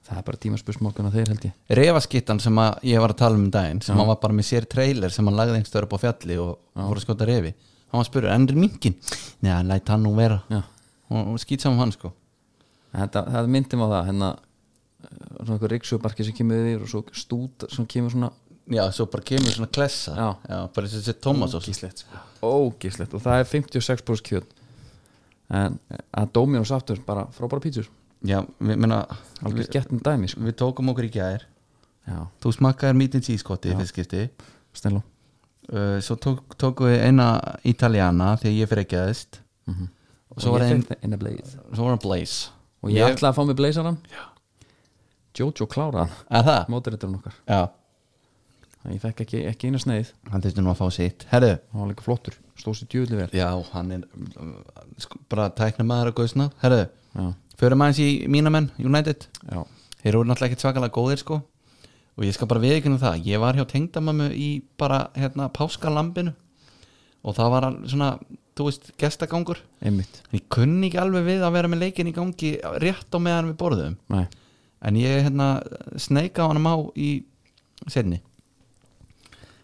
Speaker 1: það er bara tímaspursmokkan að þeir held ég.
Speaker 2: refaskittan sem að ég var að tala um um daginn sem hann var bara með sér trailer sem hann lagði einhverstöður upp á fjalli og voru að skota refi hann var að spura, endur minkin? Nei, hann læt hann nú vera
Speaker 1: Já.
Speaker 2: og, og skýt saman hann sko
Speaker 1: Þetta, það myndum á það hérna, eh, svona einhver ríksjóðbarki sem kemur yfir og svo stút sem kemur svona
Speaker 2: já, svo bara kemur svona klessa
Speaker 1: Já.
Speaker 2: bara eins og þessi Thomas og
Speaker 1: ógíslegt, ógíslegt og það er 56% kjöt en eh, að Dominos aftur bara frábæra pítsur,
Speaker 2: já, við, meina,
Speaker 1: alveg skettum dæmi sko.
Speaker 2: við tókum okkur í gær
Speaker 1: já,
Speaker 2: þú smakkaðir meat and cheese kotti í fyrstskipti
Speaker 1: snillum
Speaker 2: uh, svo tók, tókum við eina italiana þegar ég fyrir ekki aðeist og svo
Speaker 1: og
Speaker 2: var
Speaker 1: ég
Speaker 2: einn
Speaker 1: fekk það inn að bleið
Speaker 2: svo var hann blaze
Speaker 1: og ég, ætlaði að fá mig bleisaran Jojo kláraðan,
Speaker 2: að það?
Speaker 1: mótiriturinn okkar
Speaker 2: já,
Speaker 1: Þannig ég fekk ekki, ekki eina sneið,
Speaker 2: hann þurfti nú að fá sitt herðu
Speaker 1: hann var líka flottur stóð sér djúðli vel
Speaker 2: Já, hann er um, sko, bara tækna maður að guðsna Herðu,
Speaker 1: já,
Speaker 2: förum aðeins í mínamenn United
Speaker 1: já,
Speaker 2: Þeir eru náttúrulega ekkert svakalega góðir sko og ég skal bara viðkynna það Ég var hjá tengdamömmu í bara hérna, páskalambinu og það var al- svona, þú veist, gestagangur
Speaker 1: einmitt
Speaker 2: En ég kunni ekki alveg við að vera með leikin í gangi rétt á meðan við borðum
Speaker 1: Nei.
Speaker 2: en ég hérna sneika á hann á í senni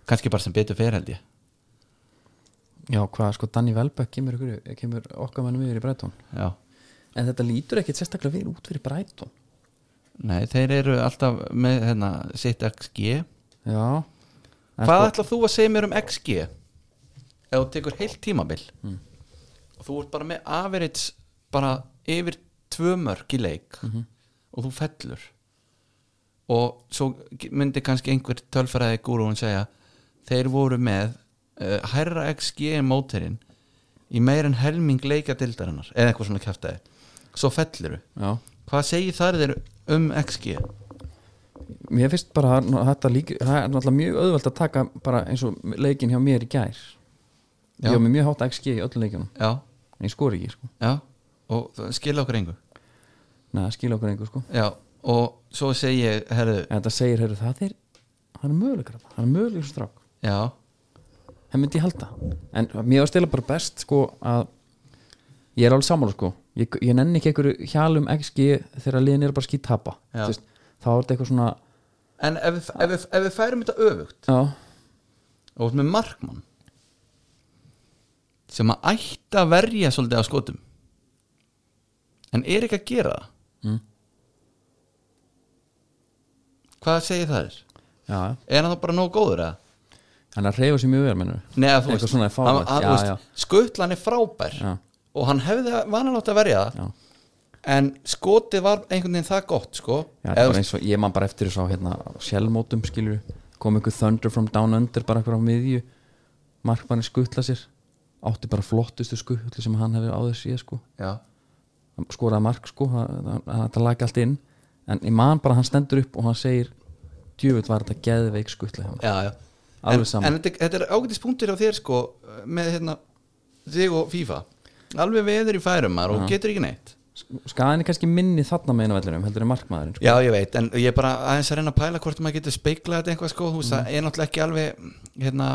Speaker 2: kannski bara sem betur fer held ég
Speaker 1: já, hvað sko Danny Welbeck kemur, ykkur- kemur okkar mannum yfir í Breitón
Speaker 2: Já
Speaker 1: En þetta lítur ekkit sérstaklega vel út fyrir Brighton
Speaker 2: Nei, þeir eru alltaf með hérna, sitt XG
Speaker 1: Já En sko,
Speaker 2: Hvað ætlað þú að segja mér um XG? Ef þú tekur heilt tímabil og þú ert bara með average bara yfir tvö mörg í leik og þú fellur og svo myndi kannski einhver tölfræði gúrúin segja þeir voru með uh, hærra XG en móterinn í meir en helming leika dildarinnar eða eitthvað svona kæftæði svo fellur
Speaker 1: Já
Speaker 2: hvað segir þar þeir um XG?
Speaker 1: Mér finnst bara að þetta líka Það er náttúrulega mjög auðvelt að taka bara eins og leikin hjá mér í gær
Speaker 2: Já.
Speaker 1: Ég var með mjög hátt XG í öllum leikunum
Speaker 2: Já,
Speaker 1: En ég skori ekki sko
Speaker 2: já og það skilja okkur engu
Speaker 1: Nei, það skilja okkur einhver sko
Speaker 2: Já, og svo segi ég, herðu,
Speaker 1: En þetta segir, heyrðu, það er Hann er möguleikar þarna, Hann er möguleikar svo strák
Speaker 2: já,
Speaker 1: Það myndi ég halda En mér var stila bara best sko að ég er alveg sammála sko ég, ég nenni ekki einhverju hjálum XG þegar liðin eru bara skýt tapa þá
Speaker 2: Já.
Speaker 1: er þetta eitthvað svona
Speaker 2: En ef, við- ef, við- ef við færum þetta öfugt
Speaker 1: já,
Speaker 2: og út með markmann sem að ætti að verja svolítið af skotum en er ekki að gera það
Speaker 1: Mm.
Speaker 2: hvað segir það þér?
Speaker 1: já,
Speaker 2: er hann þá bara nóg góður eða?
Speaker 1: hann er að reyfa sér mjög vel mennur
Speaker 2: Nei, að þú
Speaker 1: Eitthvað svona er fáránlegt,
Speaker 2: hann- hann-
Speaker 1: já,
Speaker 2: þú veist,
Speaker 1: já.
Speaker 2: skutlan er frábær
Speaker 1: Já.
Speaker 2: og hann hefði vanalátt að verja það
Speaker 1: Já.
Speaker 2: en skotið var einhvern veginn það gott sko.
Speaker 1: Já,
Speaker 2: Eða,
Speaker 1: Eða, eins og ég man bara eftir þess að hérna sjálfmótum skilur kom einhver Thunder from Down Under bara eitthvað á miðju markmanni skuttla sér átti bara flottustu skuttli sem hann hefði áður síða sko
Speaker 2: já,
Speaker 1: hann skoraði mark sko það lagi allt inn en ég man bara að hann stendur upp og hann segir djöfull var þetta geðveik skuttla
Speaker 2: já, já.
Speaker 1: Alveg
Speaker 2: en,
Speaker 1: sama.
Speaker 2: en þetta, þetta er ágætis punktur á þér sko, með hérna, þig og FIFA alveg veður í færumar og getur ekki neitt
Speaker 1: skaðin er kannski minni þarna með einu vellinum heldur en markmaðurinn sko.
Speaker 2: Já, ég veit, en ég er bara aðeins að reyna að pæla hvort maður getur speiklað þetta eitthvað sko, þú veist, það er náttúrulega ekki alveg hérna,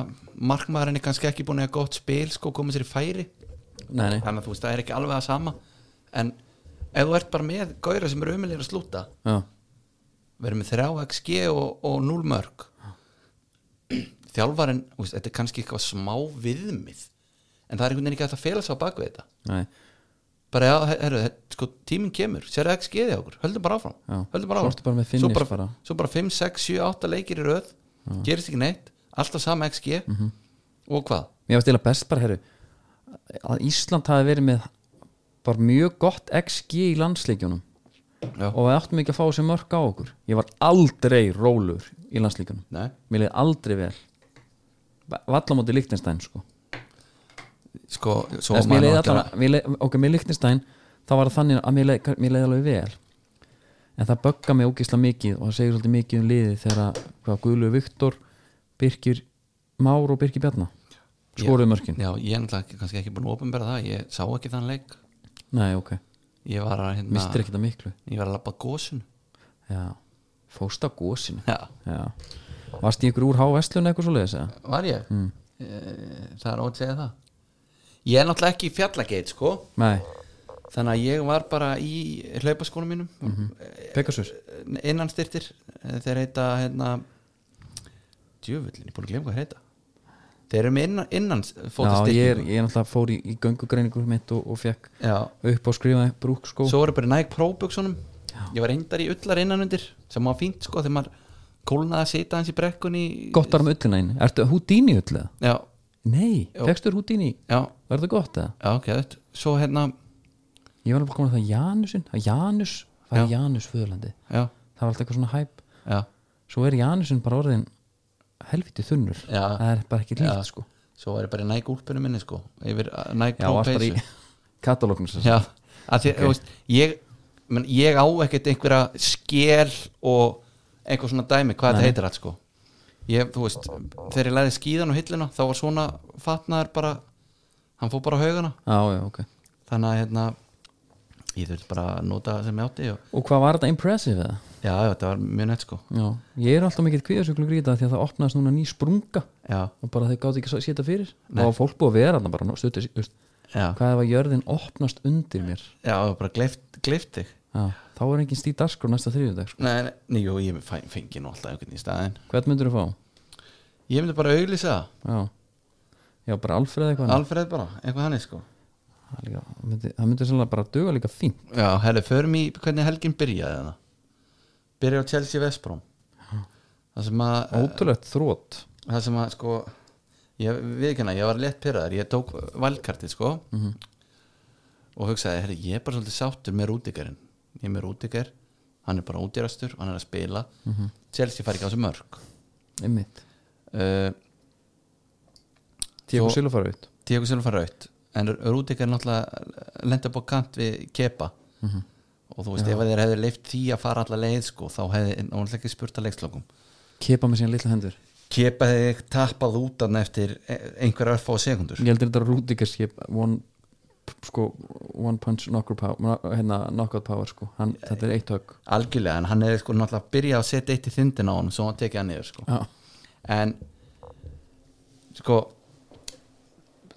Speaker 2: markmaðurinn er kannski ekki búin að eiga gott spil sko, komið sér í færi
Speaker 1: nei, nei.
Speaker 2: þannig að þú veist, það er ekki alveg að sama en ef þú ert bara með gauðra sem eru umilir að slúta
Speaker 1: Já.
Speaker 2: verður með 3xg og, og 0 mörg þjálfarinn, þú veist, þetta er kannski eitthvað smá viðmið en það er einhvern veginn ekki hægt að fela sig á bakvið þetta
Speaker 1: Nei.
Speaker 2: bara, já, he- herru, he- sko, tíminn kemur sérðu XG þið okkur, höldum bara áfram
Speaker 1: Já.
Speaker 2: höldum bara
Speaker 1: Svo
Speaker 2: áfram
Speaker 1: ertu bara með
Speaker 2: svo
Speaker 1: finish
Speaker 2: bara,
Speaker 1: bara.
Speaker 2: svo bara 5, 6, 7, 8 leikir í röð gerist ekki neitt, alltaf sama XG
Speaker 1: Mhm.
Speaker 2: og hvað?
Speaker 1: mér var stila best bara herru að Ísland hafi verið með bara mjög gott XG í landsleikjunum
Speaker 2: Já.
Speaker 1: og við áttum ekki að fá þessi mörg á okkur ég var aldrei rólur í landsleikjunum
Speaker 2: Nei.
Speaker 1: mér leiði aldrei vel vallamóti Lichtenstein sko
Speaker 2: Sko, svo
Speaker 1: Þess, mér
Speaker 2: maður
Speaker 1: leiði
Speaker 2: náttúrulega-
Speaker 1: allan, mér leið, ok, mér Lichtenstein þá var það þannig að mér leiði, mér leiði alveg vel en það bögga mig ógisla mikið og það segir svolítið mikið um liðið þegar að, hvað Guðlu Viktor, Birkir Már og Birkir Bjarna skoruðu mörkin
Speaker 2: Já, ég er náttúrulega ekki- kannski ekki búin að opinbera það ég sá ekki þann leik
Speaker 1: nei ok,
Speaker 2: ég var að, hérna,
Speaker 1: mistir ekki það miklu
Speaker 2: ég var að labba gósun
Speaker 1: já, fóst á gósinu
Speaker 2: Já,
Speaker 1: já, varst í ykkur úr H-Vestlun eitthvað svo leiðis eða?
Speaker 2: var ég? Mm. Það er ótt segja það Ég er náttúrulega ekki í fjallageit, sko
Speaker 1: nei,
Speaker 2: þannig að ég var bara í hlaupaskónum mínum mm
Speaker 1: Mhm. Pegasus
Speaker 2: innan styrtir þeir heita hérna djöfullin, ég er búin að glemja hvað þeir heita þeir eru með innan, innan
Speaker 1: já, ég er,
Speaker 2: fótastyrkingu
Speaker 1: ég er náttúrulega fór í, í göngugreiningur mitt og, og fekk
Speaker 2: já,
Speaker 1: upp á sko. skrifaði brúkskó
Speaker 2: svo voru bara Nike Pro-buksunum ég var reyndar í ullar innan undir sem var fínt sko þegar maður kólnaði að sita hans í brekkunni
Speaker 1: gott var með ullina einu, ertu Houdini ullið?
Speaker 2: já,
Speaker 1: Nei,
Speaker 2: Jó.
Speaker 1: fekstur Houdini
Speaker 2: já,
Speaker 1: Var það gott eða?
Speaker 2: já, ok, þetta svo hérna,
Speaker 1: Ég var alveg komin að það Janusin að Janus, það er Janus föðurlandi
Speaker 2: já,
Speaker 1: Það var alltaf eitthvað svona hæp
Speaker 2: já
Speaker 1: Svo er Janusin bara orðin helviti þunnur
Speaker 2: Já.
Speaker 1: Það er bara ekki
Speaker 2: Já.
Speaker 1: líkt sko
Speaker 2: svo var ég bara í Nike úlpunum minni sko yfir uh, Nike
Speaker 1: Já, varst bara
Speaker 2: Pro-peysu
Speaker 1: í katalóknum sem sagt.
Speaker 2: Já, að því, okay. veist, ég menn, ég á ekkert einhverja skél og einhver svona dæmi hvað þetta heitir allt sko ég, þú veist, þegar ég læði skíðan og hillina þá var svona fatnaður bara hann fór bara á haugana
Speaker 1: Já, já, ok
Speaker 2: þannig að hérna ég þurft bara að nota það sem ég átti og,
Speaker 1: Og hvað var þetta impressive eða?
Speaker 2: já, já, þetta var mjög nett sko
Speaker 1: Já, ég er alltaf mikill kvíðasöklu gríta því að það opnaðist núna ný sprunga
Speaker 2: já,
Speaker 1: og bara þau gátt ekki að setja fyrir Nei. og fólk búið að vera þarna bara nú, stuttu, just,
Speaker 2: já,
Speaker 1: hvað ef að jörðin opnast undir mér
Speaker 2: já bara gleift, gleift þig
Speaker 1: Já, þá er engin stíð dagskrá næsta þriðjudag sko.
Speaker 2: nei, nei, nei, jú, ég fæ- fengi nú alltaf einhvern í staðin
Speaker 1: Hvern myndir þú fá?
Speaker 2: ég myndi bara auglýsa það,
Speaker 1: Já, já bara Alfreð eitthvað
Speaker 2: Alfred bara, eitthvað hann sko
Speaker 1: það líka- það myndi, það myndi sannlega bara duga líka fín
Speaker 2: Já, herri, förum í hvernig helgin byrjaði það Byrjaði á Chelsea Vestbrom Það sem að
Speaker 1: ótrúlegt þrótt
Speaker 2: Það sem að sko Ég viðkynna, ég var lett pyrraður Ég tók valkartið sko Og hugsaði, herri, ég er bara svolítið sáttur með Rúdigarinn Ég er með Rúdigar Hann er bara útýrastur, hann er að spila Chelsea fær ekki á þessu mörg
Speaker 1: einmitt,
Speaker 2: uh,
Speaker 1: Tíko
Speaker 2: Svo-
Speaker 1: Silva fara út
Speaker 2: Diego Silva fær raut en Rúdikar náttúrulega lenda upp á kant við Kepa og þú veist, ef þeir hefði leift því að fara alla leið sko, þá hefði en náttúrulega ekki spurt að leikslokum
Speaker 1: kepa með sína litla hendur
Speaker 2: Kepa hefði tappað út hann eftir e- einhverja örfá sekundur
Speaker 1: ég heldur þetta Rúdikers skip one, sko, one punch knocker power, kno- hérna, knockout power sko. Hann,
Speaker 2: Eh.
Speaker 1: þetta er eitt högg
Speaker 2: algjörlega, en hann hefði sko náttúrulega byrjað að setja eitt í þindin á hann, svo hann tekið hann niður sko.
Speaker 1: já,
Speaker 2: en sko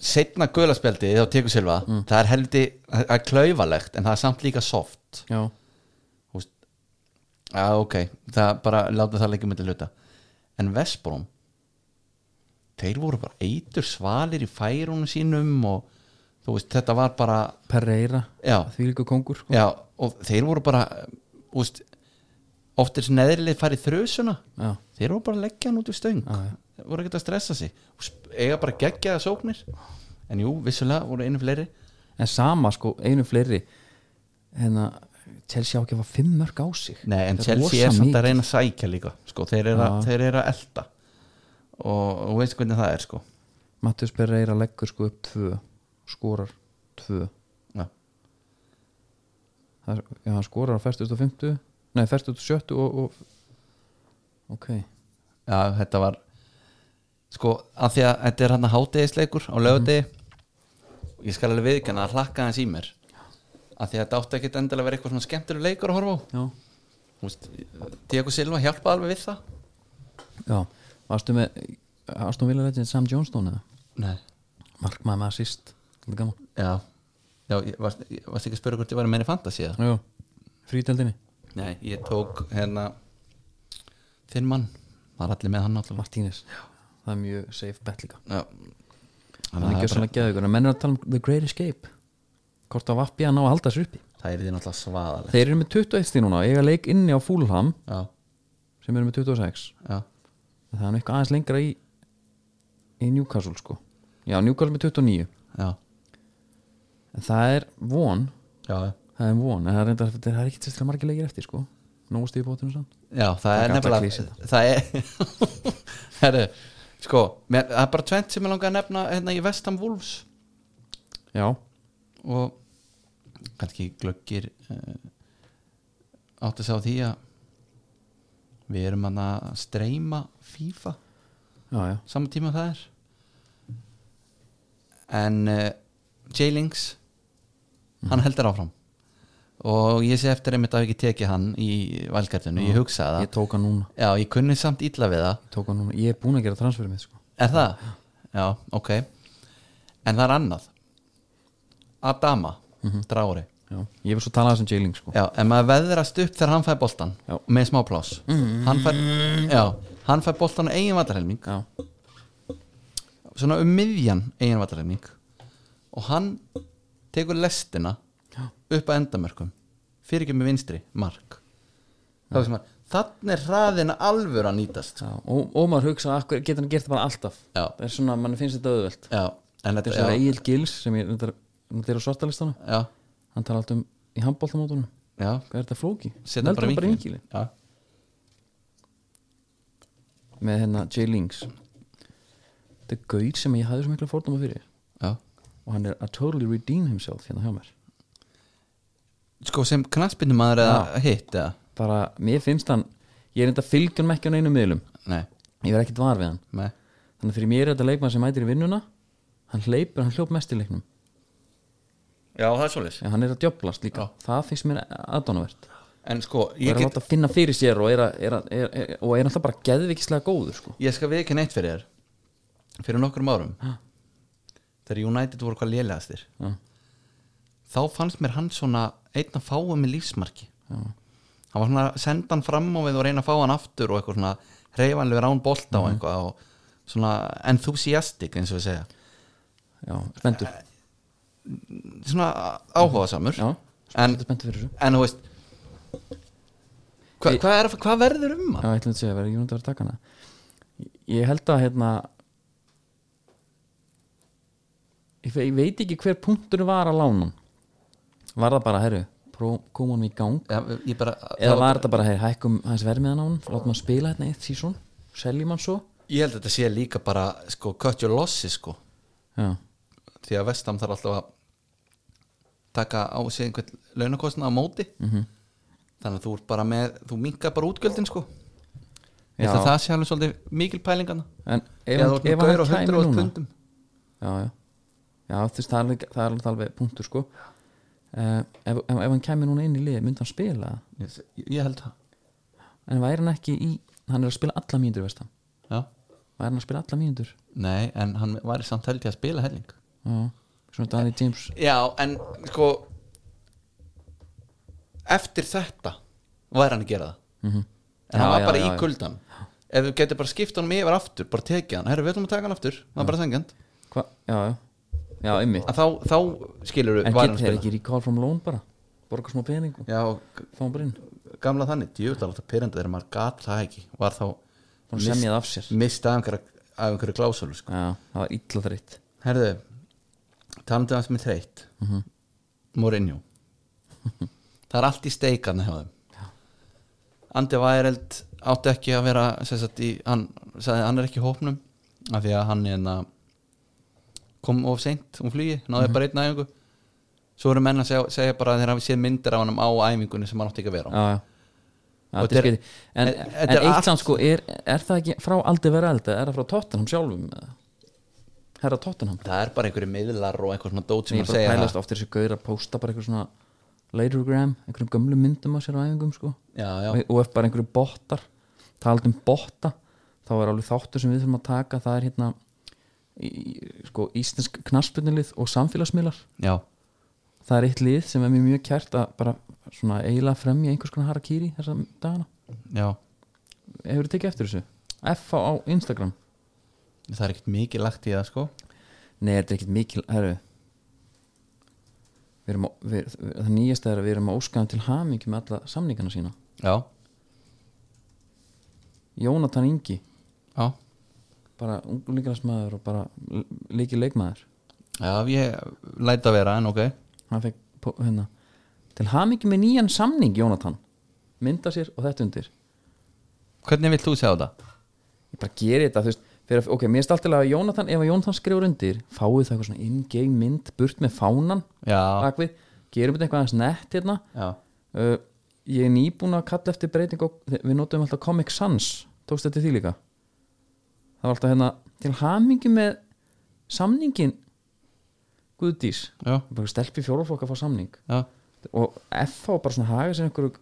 Speaker 2: setna guðlaspjaldi þá tekur Silva það er heldi, það er klaufalegt en það er samt líka soft
Speaker 1: já,
Speaker 2: Þú veist, já ok það bara, láta það leikja myndi hluta en Vesbrom þeir voru bara eitur svalir í færunum sínum og þú veist, þetta var bara
Speaker 1: Pereira
Speaker 2: já,
Speaker 1: því líka kongur sko.
Speaker 2: já, og þeir voru bara þú veist, oft er þessi neðrilið farið þrösuna
Speaker 1: já,
Speaker 2: þeir voru bara að leggja hann út í stöng
Speaker 1: Já, já.
Speaker 2: þeir voru ekkert að stressa sig Og sp- eiga bara geggjaða sóknir en jú, vissulega voru einu fleiri
Speaker 1: en sama sko, einu fleiri hérna, Chelsea á ekki að fá fimm mörg á sig
Speaker 2: Nei, en
Speaker 1: Þetta rosa
Speaker 2: Chelsea er samt
Speaker 1: mikið.
Speaker 2: að reyna að sækja líka sko, þeir, eru að, þeir eru að elda og þú veist hvernig það er sko
Speaker 1: Matthews Pereira leggur sko upp tvö skorar tvö
Speaker 2: Já.
Speaker 1: Það er, já, hann skorar á festust og fymtu nei, festust og sjöttu og, og ok,
Speaker 2: Já, þetta var sko, af því að þetta er hann að hátegisleikur á lögadegi Mhm. ég skal alveg viðkjanna að hlakka hans í mér af því að þetta átti ekkit endilega að vera eitthvað svona skemmtilega leikur að horfa á
Speaker 1: já
Speaker 2: Þú veist, Diego Silva hjálpaði alveg við það
Speaker 1: já, varstu með Aston Villa legend Sam Johnstone eða
Speaker 2: Nei
Speaker 1: markmaður með assist, þetta er gaman
Speaker 2: Já, já ég varst, ég varst ekki að spura hvort ég var meira í fantasi eða?
Speaker 1: já, fríteldinni,
Speaker 2: Nei, ég tók hérna þinn mann, það er allir með hann náttúrulega
Speaker 1: Martínez það er mjög safe bet líka það
Speaker 2: Já
Speaker 1: er
Speaker 2: það,
Speaker 1: ekki
Speaker 2: bara,
Speaker 1: svona geðugur, en menn er að tala um The Great Escape hvort að vappi að ná að halda þessu uppi
Speaker 2: það er því náttúrulega svaðaleg
Speaker 1: þeir eru með 21 stíð núna, eiga leik inni á Fúlham
Speaker 2: Já,
Speaker 1: sem eru með 26
Speaker 2: já,
Speaker 1: En það er nú eitthvað aðeins lengra í í Newcastle sko já, Newcastle með 29
Speaker 2: já,
Speaker 1: en það er von,
Speaker 2: já
Speaker 1: það er von en það er, reyndar, það er ekkit sérstaklega margir leikir eftir sko nógu stíði bóttunum samt
Speaker 2: Já, það,
Speaker 1: er
Speaker 2: er
Speaker 1: gata að
Speaker 2: nefnilega
Speaker 1: klísa
Speaker 2: Það er Herru, sko, mér, það er bara tvent sem ég langar að nefna hérna í Vestam Wolves
Speaker 1: já,
Speaker 2: og kannski glöggir uh, átt að sá því að við erum hann að streyma FIFA
Speaker 1: já, já,
Speaker 2: saman tíma og það er en uh, J-Links hann
Speaker 1: Mhm.
Speaker 2: heldur áfram og ég sé eftir einmitt að hafa ekki tekið hann í valgardinu, ég hugsaði
Speaker 1: ég tók hann núna
Speaker 2: það já, ég kunni samt illa við það
Speaker 1: ég, tók hann núna, ég er búin að gera transferið mitt sko
Speaker 2: Er það? Já, ok En það er annað Adama,
Speaker 1: Mhm.
Speaker 2: Drári
Speaker 1: já, ég vil svo tala þessum jailing sko
Speaker 2: Já, en maður veðrast upp þegar hann fær boltan
Speaker 1: Já. Mhm.
Speaker 2: með smá pláss hann, fær, já, hann fær boltan á eigin vallarhelming
Speaker 1: já,
Speaker 2: svona um miðjan eigin vallarhelming og hann tekur lestina upp að endamörkum fyrir ekki með vinstri, mark þá veist maður, þannig er hraðina alvöru að nýtast
Speaker 1: já. Og, og maður hugsa að getur hann gert það bara alltaf
Speaker 2: Já.
Speaker 1: það er svona, mann finnst þetta auðvelt
Speaker 2: Já, en
Speaker 1: þetta er
Speaker 2: þetta
Speaker 1: svo
Speaker 2: já,
Speaker 1: Egil Gils sem ég, þetta er, þetta er á svartalistana
Speaker 2: já,
Speaker 1: hann tala alltaf um í handbóltamótunum
Speaker 2: já
Speaker 1: hvað er þetta flóki?
Speaker 2: setja bara
Speaker 1: Neldur
Speaker 2: vinkilin
Speaker 1: vinkilinn.
Speaker 2: Já,
Speaker 1: með hérna J. Links þetta er gaur sem ég hafði svo mikla fórnum fyrir
Speaker 2: já
Speaker 1: og hann er að totally redeem himself hérna hjá mér
Speaker 2: Sko sem knaspinnumadur eða hitt eða
Speaker 1: bara, mér finnst hann ég er enda fylgjum ekki á neinu miðlum
Speaker 2: Nei,
Speaker 1: ég verð ekkert var við hann
Speaker 2: nei,
Speaker 1: þannig að fyrir mér er þetta leikmann sem mætir í vinnuna hann hleypur, hann hljóp mest í leiknum
Speaker 2: Já, það er svoleiðis
Speaker 1: en hann er að djöblast líka, það finnst mér aðdánavert
Speaker 2: En sko,
Speaker 1: og
Speaker 2: ég,
Speaker 1: er að
Speaker 2: get,
Speaker 1: láta finna fyrir sér og er, að, er, að, er, er, og er alltaf bara geðvikislega góður sko.
Speaker 2: ég skal við ekki neitt fyrir þér Fyrir nokkrum árum
Speaker 1: Ha.
Speaker 2: Þegar United voru hvað lélegastir
Speaker 1: Já.
Speaker 2: Þá fannst mér hann svona einn að fáa með lífsmarki
Speaker 1: Já.
Speaker 2: Hann var svona að senda hann fram á við og reyna að fá hann aftur og eitthvað svona reyfanlega rán bolta og eitthvað og svona enthusiastic eins og við segja
Speaker 1: já, spendur
Speaker 2: Svona áhugasamur
Speaker 1: Mhm. já,
Speaker 2: En,
Speaker 1: spendur fyrir þessu
Speaker 2: en þú veist Hvað hva er- hvað verður um hann?
Speaker 1: Já, ég ætlum að segja, verður ekki núna að vera að taka hana Ég held að hérna ég, fe- ég veit ekki hver punktur var að lánum Var það bara, herru, pró- koma hann í gang
Speaker 2: Já, ég bara,
Speaker 1: Eða var þetta bara, herru, hækkum hans vermiðan á hann Látum hann spila hérna eitt sísón Seljum hann svo
Speaker 2: ég held að þetta sé líka bara sko, cut your losses sko.
Speaker 1: Já,
Speaker 2: því að Vestam þarf alltaf að taka á sig einhvern launakostna á móti
Speaker 1: Mhm.
Speaker 2: -hmm. þannig að þú ert bara með þú minkar bara útgjöldin sko. ég held
Speaker 1: Já.
Speaker 2: að það sé alveg svolítið mikil pælingana
Speaker 1: en ef,
Speaker 2: eða þú
Speaker 1: hann,
Speaker 2: ert með
Speaker 1: ef hann
Speaker 2: gaur á
Speaker 1: kæmi
Speaker 2: 100
Speaker 1: núna
Speaker 2: pundum
Speaker 1: Já, já Já, þú veist, það er alveg, það er alveg, alveg punktur, sko uh, ef, ef, ef hann kæmi núna inn í lið Myndi hann spila það?
Speaker 2: ég, ég held það
Speaker 1: En væri hann ekki í, hann er að spila alla mínútur, veist hann
Speaker 2: Já.
Speaker 1: Væri hann að spila alla mínútur
Speaker 2: nei, en hann væri samt held ég að spila helling
Speaker 1: já,
Speaker 2: Eh,
Speaker 1: svona Danny James
Speaker 2: Já, en sko Eftir þetta Væri hann að gera það -hmm. En hann
Speaker 1: Já,
Speaker 2: var
Speaker 1: já,
Speaker 2: bara
Speaker 1: já,
Speaker 2: í
Speaker 1: já.
Speaker 2: kuldan Ef þú getur bara skipt honum yfir aftur Bara tekið hann, herru við ætlum að taka hann aftur Það var bara þengjand
Speaker 1: Hva? já, já, já, einmitt
Speaker 2: Þá, þá skilur
Speaker 1: en
Speaker 2: við væri
Speaker 1: getur
Speaker 2: hann að
Speaker 1: þeir
Speaker 2: spila
Speaker 1: ekki recall from loan bara borga smá pening og
Speaker 2: Já, og
Speaker 1: fá hann bara inn
Speaker 2: gamla þannig Djöfut alveg pyrrandi þegar maður gat það ekki Var þá
Speaker 1: og semja það af sér
Speaker 2: mistað af einhverju, af einhverju glásölu sko.
Speaker 1: já, það var illa þreytt
Speaker 2: Herðu, talandi um það sem er þreytt
Speaker 1: Mhm.
Speaker 2: Mourinho Það er allt í steikarni hjá þeim Andi Væreld átti ekki að vera sem sagt, í, hann sagði að hann er ekki í hópnum af því að hann enna, kom of seint um flugi
Speaker 1: Mhm.
Speaker 2: náði bara einn æfingu svo eru menn að segja, segja bara að þeir hafi séð myndir af hann á æfingunni sem hann átti ekki að vera á
Speaker 1: já, já Já,
Speaker 2: Og
Speaker 1: þetta er
Speaker 2: þetta er-
Speaker 1: skrítið. en,
Speaker 2: e-
Speaker 1: en
Speaker 2: þetta er allt-
Speaker 1: eitt samt sko er, er það ekki frá aldrei vera elda er það frá Tottenham sjálfum eða? herra Tottenham
Speaker 2: það er bara einhverju miðlar og einhver svona dót
Speaker 1: sem
Speaker 2: sem
Speaker 1: ég
Speaker 2: er
Speaker 1: bara
Speaker 2: að segja
Speaker 1: pælast
Speaker 2: það.
Speaker 1: ofta þessi gauður að posta bara einhver svona latergram, einhverjum gömlu myndum að sér á æfingum sko
Speaker 2: já, já,
Speaker 1: og og ef bara einhverju bottar talað um botta þá er alveg þáttur sem við þurfum að taka það er hérna í, í- sko, íslensk knaspunnilið og samfélagsmiðlar
Speaker 2: já,
Speaker 1: það er eitt lið sem er mér mjög kært að bara svona eiginlega fremja einhvers konar harakiri þessa dagana
Speaker 2: já
Speaker 1: hefur þið tekið eftir þessu? F á Instagram
Speaker 2: það er ekkert mikið lagt í það sko
Speaker 1: Nei, þetta er ekkert mikil herru. Við erum, á- við, við- það nýjasta er að við erum að óskaðum til hamingi með alla samningana sína
Speaker 2: já,
Speaker 1: Jónatan Ingi,
Speaker 2: já
Speaker 1: bara unglingalarsmaður og bara líki leikmaður
Speaker 2: Já, ég læt að vera en ok
Speaker 1: hann fekk po- hérna til hamingi með nýjan samning Jónatan mynda sér og þetta undir
Speaker 2: Hvernig vilt þú segja þetta?
Speaker 1: ég bara geri þetta þú veist fyrir, ok, mér er alltaf að Jónatan ef að Jónatan skrifur undir fáið það eitthvað svona in-game mynd burt með fánan
Speaker 2: Já,
Speaker 1: bakvið gerum þetta eitthvað aðeins nett hérna
Speaker 2: já,
Speaker 1: uh, ég er nýbúin að kalla eftir breyting og við notum alltaf Comic Sans tókst þetta því líka það var alltaf hérna til hamingi með samningin Guðdís
Speaker 2: já,
Speaker 1: bara stelpi fjóraflokk að fá samning
Speaker 2: já,
Speaker 1: og F á bara svona haga sér einhverju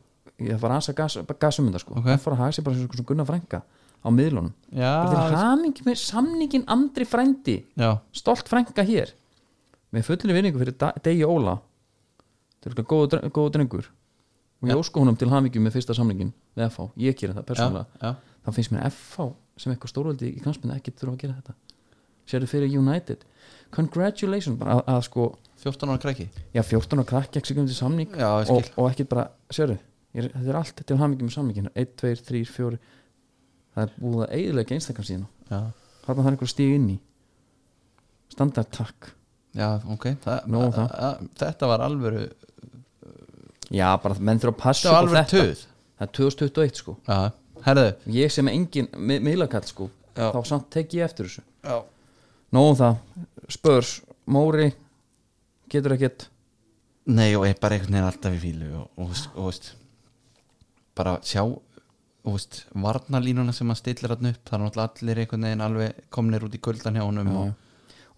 Speaker 1: ég var aðeins að gas, bara gasum þetta sko
Speaker 2: Ok.
Speaker 1: F á að haga sér bara svona Gunnar Frænka á miðlunum bara til
Speaker 2: já,
Speaker 1: hamingi með samningin Andri Frændi
Speaker 2: já,
Speaker 1: stolt frænka hér með fullinni vinningu fyrir Da- Degi Óla þetta er örugglega góður dre- góður drengur og ég ósku honum til hamingju með fyrsta samlingin með FH, ég gera það
Speaker 2: já,
Speaker 1: persónulega
Speaker 2: já.
Speaker 1: þá finnst mér FH sem eitthvað stórveldi í knallspinna ekki þurfa að gera þetta sérðu fyrir United congratulations, bara að, að sko
Speaker 2: 14 ára krakki
Speaker 1: já, 14 og krakki ekki komið til samning
Speaker 2: Já, ég
Speaker 1: og,
Speaker 2: skil
Speaker 1: og ekkert bara, sérðu ég, er- þetta er allt til hamingju með samlingin 1, 2, 3, 4 það er búið að eiginlega einstakam síðan
Speaker 2: Já,
Speaker 1: þarna þarf einhver að stíga inn í standartakk
Speaker 2: já ok Þa,
Speaker 1: Nóg um það.
Speaker 2: a- a- Þetta var alvöru
Speaker 1: Já, bara menn þurfa að passa
Speaker 2: Þetta
Speaker 1: upp
Speaker 2: var
Speaker 1: á
Speaker 2: alvöru
Speaker 1: þetta
Speaker 2: töð
Speaker 1: Það er 2021 sko
Speaker 2: Já, herðu
Speaker 1: Ég sem er engin mi miðlakall sko
Speaker 2: Já.
Speaker 1: Þá samt tek ég eftir þessu
Speaker 2: Já,
Speaker 1: Nóðum það, spörs, móri Getur ekkert
Speaker 2: Nei, og ég bara einhvern veginn alltaf í fílu og, og, veist- og veist bara sjá og veist, varnalínuna sem hann stillir hann upp það er náttúrulega allir einhvern veginn alveg komnir út í kuldan hjá honum og,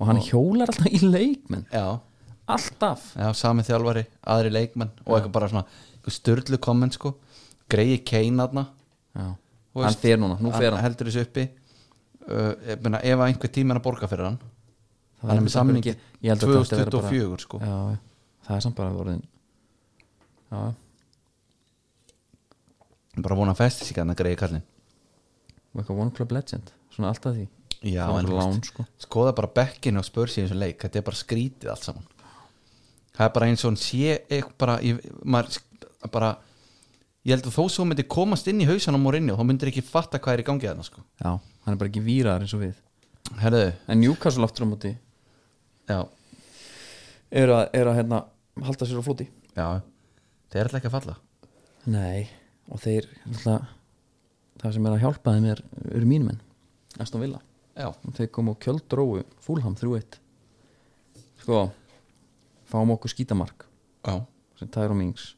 Speaker 1: Og hann hjólar alltaf í leikmenn
Speaker 2: já,
Speaker 1: Alltaf
Speaker 2: Já, sami þjálfari, aðri leikmenn og eitthvað bara svona, eitthvað störlu komment sko, greiði Kane aðna
Speaker 1: Já.
Speaker 2: Þú
Speaker 1: Hann
Speaker 2: veist,
Speaker 1: fer núna, nú fer hann
Speaker 2: heldur þessu uppi uh, ég meina, ef að einhver tíma er að borga fyrir hann hann er með
Speaker 1: heldur
Speaker 2: samning
Speaker 1: ekki- ég held að þetta ætti að vera bara-
Speaker 2: 2024 sko
Speaker 1: Já, já. það er samt bara orðin Já,
Speaker 2: bara vona að festi sig hérna, hann að greiði kallin
Speaker 1: og eitthvað one club legend Svona alltaf því
Speaker 2: Já,
Speaker 1: Það var
Speaker 2: en þú
Speaker 1: lán,
Speaker 2: veist,
Speaker 1: sko.
Speaker 2: skoða bara bekkinu og spörsi í þessum leik, þetta er bara skrítið allt saman það er bara eins og hann sé eitthvað bara, ég, maður, sk- bara ég held að þó svo myndi komast inn í hausan á morinni og þá myndir ekki fatta hvað er í gangi þarna sko
Speaker 1: Já, hann er bara ekki víraðar eins og við
Speaker 2: herðu,
Speaker 1: En Newcastle aftur á móti
Speaker 2: já
Speaker 1: Er að, er að hérna, halda sér á floti
Speaker 2: Já, þeir ætla ekki að falla
Speaker 1: Nei, og þeir alltaf, það sem er að hjálpa þeim er, eru mínum enn Aston Villa
Speaker 2: Já,
Speaker 1: og þeir komu og kjöldróu Fúlham 3-1 sko fáum okkur skítamark
Speaker 2: já,
Speaker 1: sem Tyro Mings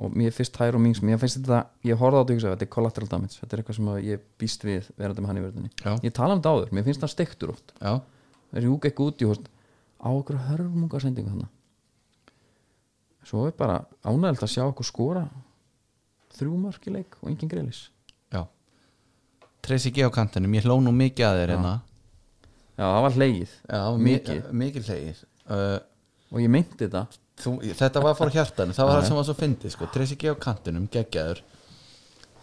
Speaker 1: og mér finnst Tyro Mings mér finnst þetta, ég horfði á þetta og hugsaði, þetta er collateral damage þetta er eitthvað sem að ég býst við verandi með hann í verðinni
Speaker 2: já,
Speaker 1: ég tala um þetta áður, mér finnst það stektur oft
Speaker 2: já,
Speaker 1: rjúk ekki út í hóst á okkur hörmunga sendingu þannig svo er bara ánægild að sjá okkur skora þrjú mörk í leik og engin greilis
Speaker 2: já. Tracy G á kantinum, ég hló nú mikið að þér hérna
Speaker 1: já, það var hlegið
Speaker 2: já,
Speaker 1: mikið
Speaker 2: mikið, mikið hlegið uh,
Speaker 1: og ég meinti þetta
Speaker 2: þú, þetta var frá hjartan það var það sem var svo fyndið sko. Tracy G á kantinum, geggjaður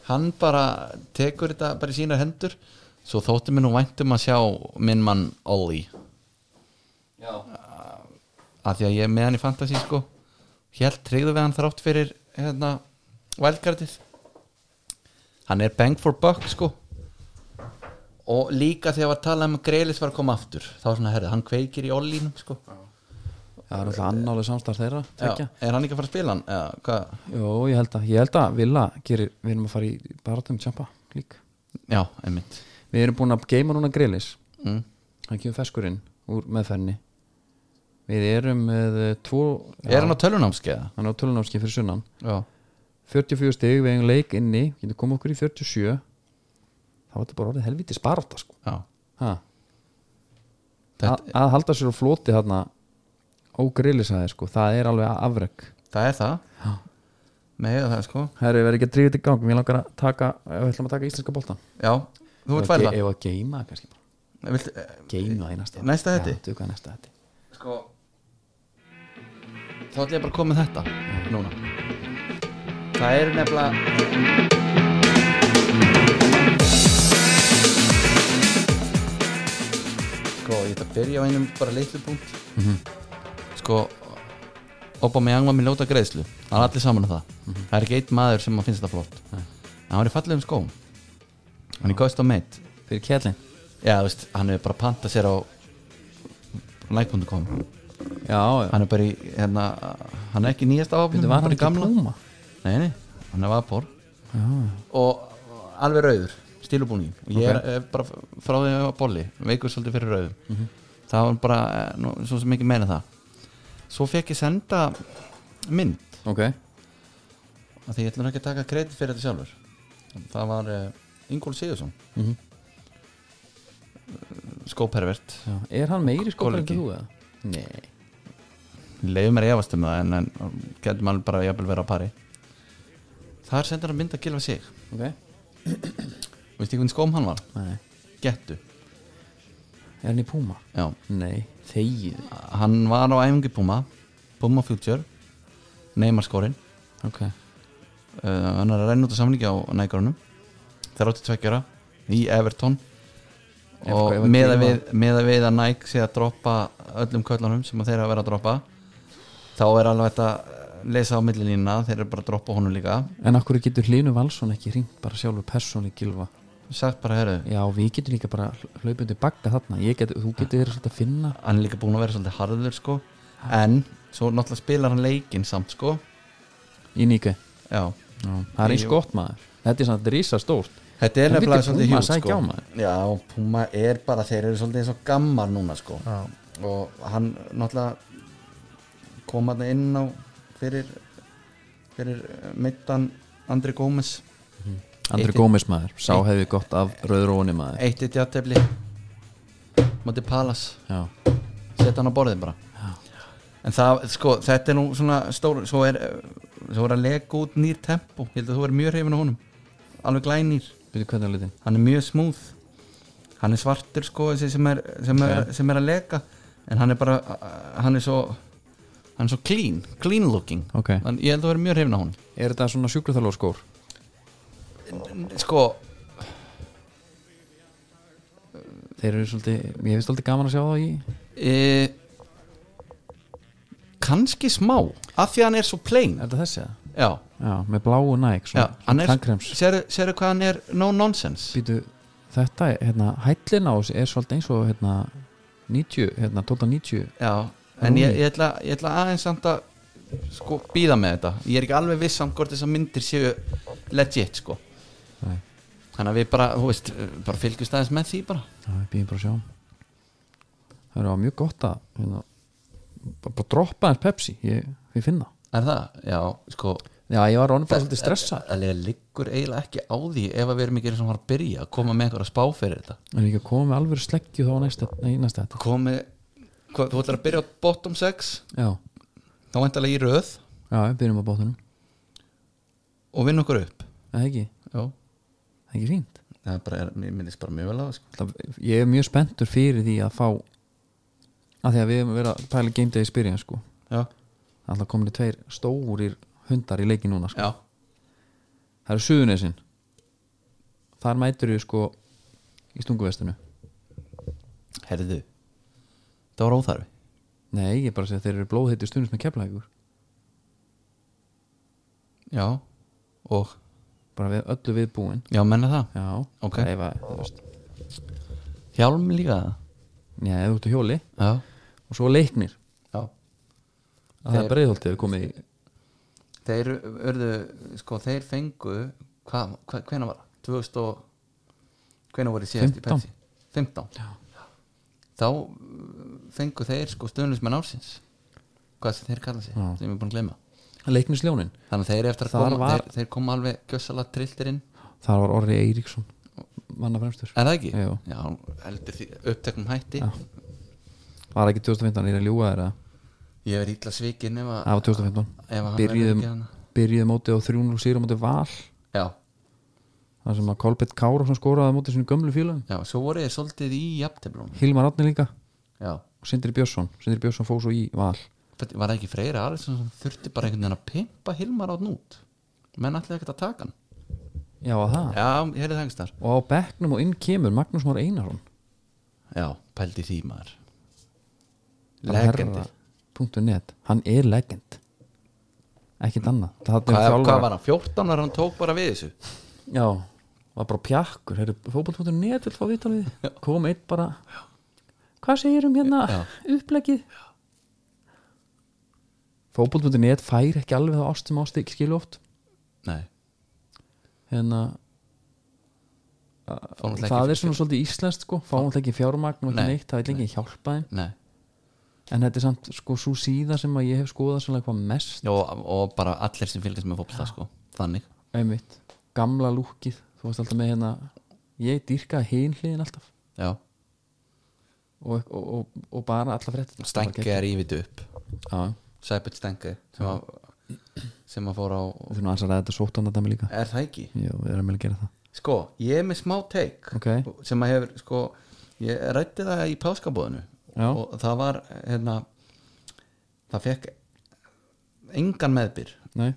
Speaker 2: hann bara tekur þetta bara í sínar hendur svo þótti mér nú væntum að sjá minn mann Ollie
Speaker 1: já.
Speaker 2: að því að ég er með hann í fantasy sko hér tryggðu við hann þrátt fyrir hérna, wildcardið hann er bang for buck sko og líka þegar var talað um að Greilis var að koma aftur þá var svona, herrið, hann kveikir í ollínum sko
Speaker 1: það er alltaf annálega samstarf þeirra
Speaker 2: Já,
Speaker 1: tvekja.
Speaker 2: er hann ekki að fara að spila hann? Já, hvað?
Speaker 1: Jó, ég held að, ég held að Villa gerir, við erum að fara í baratum tjampa lík
Speaker 2: Já, einmitt
Speaker 1: Við erum búin að geima núna grillis
Speaker 2: mm.
Speaker 1: hann kemur feskurinn úr meðferðinni Við erum með eh, tvo
Speaker 2: Er hann á tölunámskeiða?
Speaker 1: hann á tölunámski fyrir sunnan
Speaker 2: Já
Speaker 1: 44 stig, við eigum leik inni getum komið okkur í 47 þá var þetta bara orðið helviti sparta sko.
Speaker 2: Já,
Speaker 1: Ha, að,
Speaker 2: þetta,
Speaker 1: að halda sér á floti hérna ógrillisæði sko, það er alveg afreg
Speaker 2: það er það
Speaker 1: Já.
Speaker 2: Mega það sko
Speaker 1: Herri, við erum ekki að drífa þetta í gang, við langar að taka við ætlum að taka íslenska boltan
Speaker 2: Já, þú ert eh, fæla
Speaker 1: Ef að geima kannski bara Geima í næsta Já,
Speaker 2: Næsta þætti?
Speaker 1: tökum við næsta þetta
Speaker 2: Sko Þá ætla ég bara að koma með þetta Núna Það eru nefnilega Sko, ég ætla að byrja á einum bara litlu punkt Sko Opa með jangvað með ljóta greiðslu Það er allir saman um það Það er ekki eitt maður sem að finnst þetta flott En hann er í fallegum skóm Hann er kost á meitt
Speaker 1: Fyrir kjælin
Speaker 2: Já, þú veist, hann er bara að panta sér á Like.com
Speaker 1: Já, já.
Speaker 2: hann er bara í hérna, hann er ekki nýjast af
Speaker 1: Þetta
Speaker 2: áfnum
Speaker 1: var
Speaker 2: bara
Speaker 1: hann
Speaker 2: í
Speaker 1: ekki plúma
Speaker 2: nei, nei, hann er vapor og alveg rauður stílubúning og ég er, er bara frá því að ég var bolli veikur svolítið fyrir rauðum
Speaker 1: Mhm.
Speaker 2: það var bara, eh, nú, svo sem ekki meina það svo fekk ég senda mynd
Speaker 1: Ok,
Speaker 2: af því ég ætlum ekki að taka kredit fyrir þetta sjálfur það var uh, Ingól Sigursson mm
Speaker 1: Mhm.
Speaker 2: skópervert
Speaker 1: já. er hann meiri skópar en
Speaker 2: Kollegi.
Speaker 1: þú eða? Nei
Speaker 2: leiði mér efast um það en, en getur maður bara jafnvel vera að pari þar sendur hann mynd að gilfa sig
Speaker 1: Ok,
Speaker 2: Veist ekki hvernig skóm hann var?
Speaker 1: nei
Speaker 2: Gettu
Speaker 1: Er hann í púma?
Speaker 2: Já
Speaker 1: Nei, þegið
Speaker 2: Hann var á æfingi Puma Puma Future Neymar skórin
Speaker 1: Ok,
Speaker 2: uh, Hann er að reyna út á samlingi á nægarunum Það er 82 ára Í Everton
Speaker 1: Ef- ef
Speaker 2: Og
Speaker 1: að
Speaker 2: meða
Speaker 1: gefa-
Speaker 2: við, meða við að Nike sé að droppa öllum köllunum sem að þeir eru að vera að droppa þá er alveg þetta að lesa á millilínuna þeir eru bara að droppa honum líka
Speaker 1: en akkur getur Hlynur Valsson ekki ringt bara sjálfur persónlega gilfa
Speaker 2: sagt bara, herru,
Speaker 1: Já, við getum líka bara hlaupundi bagga þarna Ég get, Þú getur þér svolítið að finna
Speaker 2: hann er líka búin að vera svolítið harður sko en svo náttúrulega spilar hann leikinn samt sko
Speaker 1: í nýke
Speaker 2: Já,
Speaker 1: Það er eins gott maður Þetta er svona rísa stórt
Speaker 2: Þetta er
Speaker 1: En
Speaker 2: nefnilega
Speaker 1: bíddu,
Speaker 2: svolítið
Speaker 1: Puma
Speaker 2: hjút
Speaker 1: sækja
Speaker 2: sko.
Speaker 1: á maður.
Speaker 2: Já, Puma er bara, þeir eru svolítið eins og gammar núna sko. og hann náttúrulega kom hann inn á fyrir, fyrir meittan Andri Gómez
Speaker 1: Andri
Speaker 2: Eitt-
Speaker 1: Gómez maður, sá hefði gott af rauðróni maður
Speaker 2: eitt eitt játtefli Móti Palas,
Speaker 1: Já,
Speaker 2: setja hann á borðin bara En það, sko, þetta er nú svona stór, svo er, eh, svo er að lega út nýr tempo, ég held að þú er mjög hrifin á honum alveg glænýr
Speaker 1: byrju hvernig er litin
Speaker 2: hann er mjög smúð hann er svartur sko þessi sem er, sem er, sem er að leka en hann er bara hann er svo, hann er svo clean, clean looking
Speaker 1: Ok.
Speaker 2: hann, ég held að vera mjög hrifna hún
Speaker 1: Er þetta svona sjúkraþjálfur skór?
Speaker 2: sko,
Speaker 1: Þeir eru svolítið, ég finnst svolítið gaman að sjá það í
Speaker 2: e, kannski smá af því að hann er svo plain
Speaker 1: Er þetta þessi það?
Speaker 2: já,
Speaker 1: Já, með bláu næk
Speaker 2: já,
Speaker 1: svona,
Speaker 2: hann er
Speaker 1: tannkrem.
Speaker 2: sérðu sérðu hvað hann er no nonsense
Speaker 1: Býtu, þetta, er, hérna, hællin á þessu er svolítið eins og, hérna, 90, hérna, 1290
Speaker 2: já, en ég, ég, ætla, ég ætla aðeins samt að sko, býða með þetta ég er ekki alveg viss samt hvort þessar myndir séu legit sko
Speaker 1: Nei,
Speaker 2: Þannig að við bara, þú veist, bara fylgjumst aðeins með því bara
Speaker 1: já, við býðum bara að sjá Það eru á mjög gott að, hérna, bara, bara droppa þess Pepsi, ég, ég finna
Speaker 2: Er það? Já, sko
Speaker 1: Já, ég var orðin bara svolítið stressað
Speaker 2: Það liggur eiginlega ekki á því ef að við erum ekki eins og hann að byrja að koma með einhverja spá fyrir þetta
Speaker 1: En ég kom með alveg sleggju þá á næsta, nei, næsta þetta
Speaker 2: Komi, hvað, þú ætlar að byrja á bottom 6
Speaker 1: Já,
Speaker 2: þá væntalega í röð
Speaker 1: já, við byrjum á bóttunum
Speaker 2: og vinna okkur upp
Speaker 1: Það er ekki,
Speaker 2: Já,
Speaker 1: það er ekki fínt
Speaker 2: það er bara, er, mér minnist bara mjög vel á það sko.
Speaker 1: Það, ég er mjög spenntur fyrir því að fá að því að við hefum verið að pæla Game Day Experience sko
Speaker 2: já,
Speaker 1: alltaf komin í tveir stórir hundar í leikin núna sko.
Speaker 2: já,
Speaker 1: það eru suðunesin þar mætur við sko í stunguvestinu
Speaker 2: herðu það var óþarfi
Speaker 1: nei, ég er bara að segja að þeir eru blóðheiti stundins með keflækur
Speaker 2: já, og,
Speaker 1: bara við öllu viðbúin
Speaker 2: já, menna það
Speaker 1: já,
Speaker 2: Ok.
Speaker 1: það ef að, þú veist
Speaker 2: hjálm líka
Speaker 1: já, ef þú ert á hjóli
Speaker 2: já,
Speaker 1: og svo leiknir
Speaker 2: já
Speaker 1: það er breiðholtið við komið í
Speaker 2: þeir urðu, sko, þeir fengu hvað, hva, hvena var það 2000 og hvena voru
Speaker 1: 15.
Speaker 2: síðast í Pepsi 15
Speaker 1: já,
Speaker 2: þá uh, fengu þeir sko stöðnlismenn ársins hvað sem þeir kalla sig,
Speaker 1: Já.
Speaker 2: sem ég er búin að gleyma
Speaker 1: leiknisljónin
Speaker 2: þannig að þeir eru eftir að
Speaker 1: Þar
Speaker 2: koma
Speaker 1: var-
Speaker 2: þeir, þeir koma alveg gjössalega trilltir inn
Speaker 1: þar var Orri Eiríksson manna fremstur
Speaker 2: er það ekki?
Speaker 1: Jú.
Speaker 2: já, hún heldur því uppteknum hætti
Speaker 1: Já. var ekki 2015, ég er að ljúga þér að
Speaker 2: ég er ítla svikin ef að
Speaker 1: það var 2015
Speaker 2: ef að hann verður
Speaker 1: byrjuðum,
Speaker 2: ekki hérna. hana
Speaker 1: byrjuðum mótið á 300 sýra mótið val
Speaker 2: já,
Speaker 1: þar sem að Kolbett Kárafsson skoraði mótið sinu gömlu fílum
Speaker 2: já, svo voru þeir svolítið í jafnteflunum
Speaker 1: Hilmar Átni líka
Speaker 2: já,
Speaker 1: og Sindri Björnsson Sindri Björnsson fóð svo í val
Speaker 2: Þetta var það ekki Freyra Arvidsson sem þurfti bara einhvern veginn að pimpa Hilmar át nút menn allir ekkert að taka hann
Speaker 1: já að það
Speaker 2: já, ég hefði þengst þar
Speaker 1: og á bekknum og inn kemur Magnús Már Einarsson
Speaker 2: já, pældi því maður
Speaker 1: Bara
Speaker 2: legendir
Speaker 1: herra.net hann er legend ekkit annað Það er
Speaker 2: hvað, hvað
Speaker 1: þjálfara-
Speaker 2: var hann, 14 var hann tók bara við þessu
Speaker 1: já var bara pjakkur herru fótboll.net vil fá vital við þig. kom einn bara hvað segir um hérna upplegið fótboll.net fær ekki alveg það ást sem ást ekki skilu oft
Speaker 2: nei,
Speaker 1: hérna
Speaker 2: fór hann
Speaker 1: það er svona svolítið íslenskt sko fáum alltaf ekki fjármagn og ekki
Speaker 2: Nei,
Speaker 1: neitt það vil ekki hjálpa þeim
Speaker 2: nei
Speaker 1: en þetta er samt sko svo síða sem að ég hef skoðað svolítið hvað mest
Speaker 2: Já, og, og bara allir sem fylgist með fólksta sko. þannig
Speaker 1: einmitt gamla lúkið þú varst alltaf með hérna ég dýrkaði hin hliðin alltaf
Speaker 2: já,
Speaker 1: og, og, og, og bara alla fréttina
Speaker 2: Stengi er yfir upp
Speaker 1: já
Speaker 2: Sæbjörn Stengi sem, að- sem að fór á
Speaker 1: við þurfum aðeins að ræða þetta sóttan að dæmi líka
Speaker 2: er það ekki?
Speaker 1: já við erum með að gera það
Speaker 2: sko, ég er með smá teik
Speaker 1: Ok.
Speaker 2: sem að hefur, sko ég rætti það í páskabóðinu
Speaker 1: Já.
Speaker 2: og það var, hérna það fekk engan meðbyr
Speaker 1: nei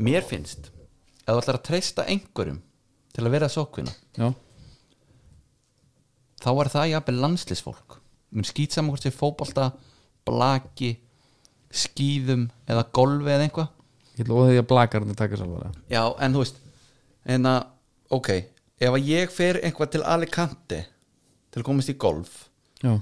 Speaker 2: mér finnst að þú ætlar að treysta einhverjum til að vera sókvinna
Speaker 1: já
Speaker 2: þá er það jafnvel landslisfólk mér skýt saman hvort sér fótbolta blaki, skýðum eða golfi eða einhvað
Speaker 1: ég loði því að blakarnir taka sér alveg
Speaker 2: já, en þú veist en að, ok, ef að ég fer einhvað til Alicante til að komast í golf
Speaker 1: já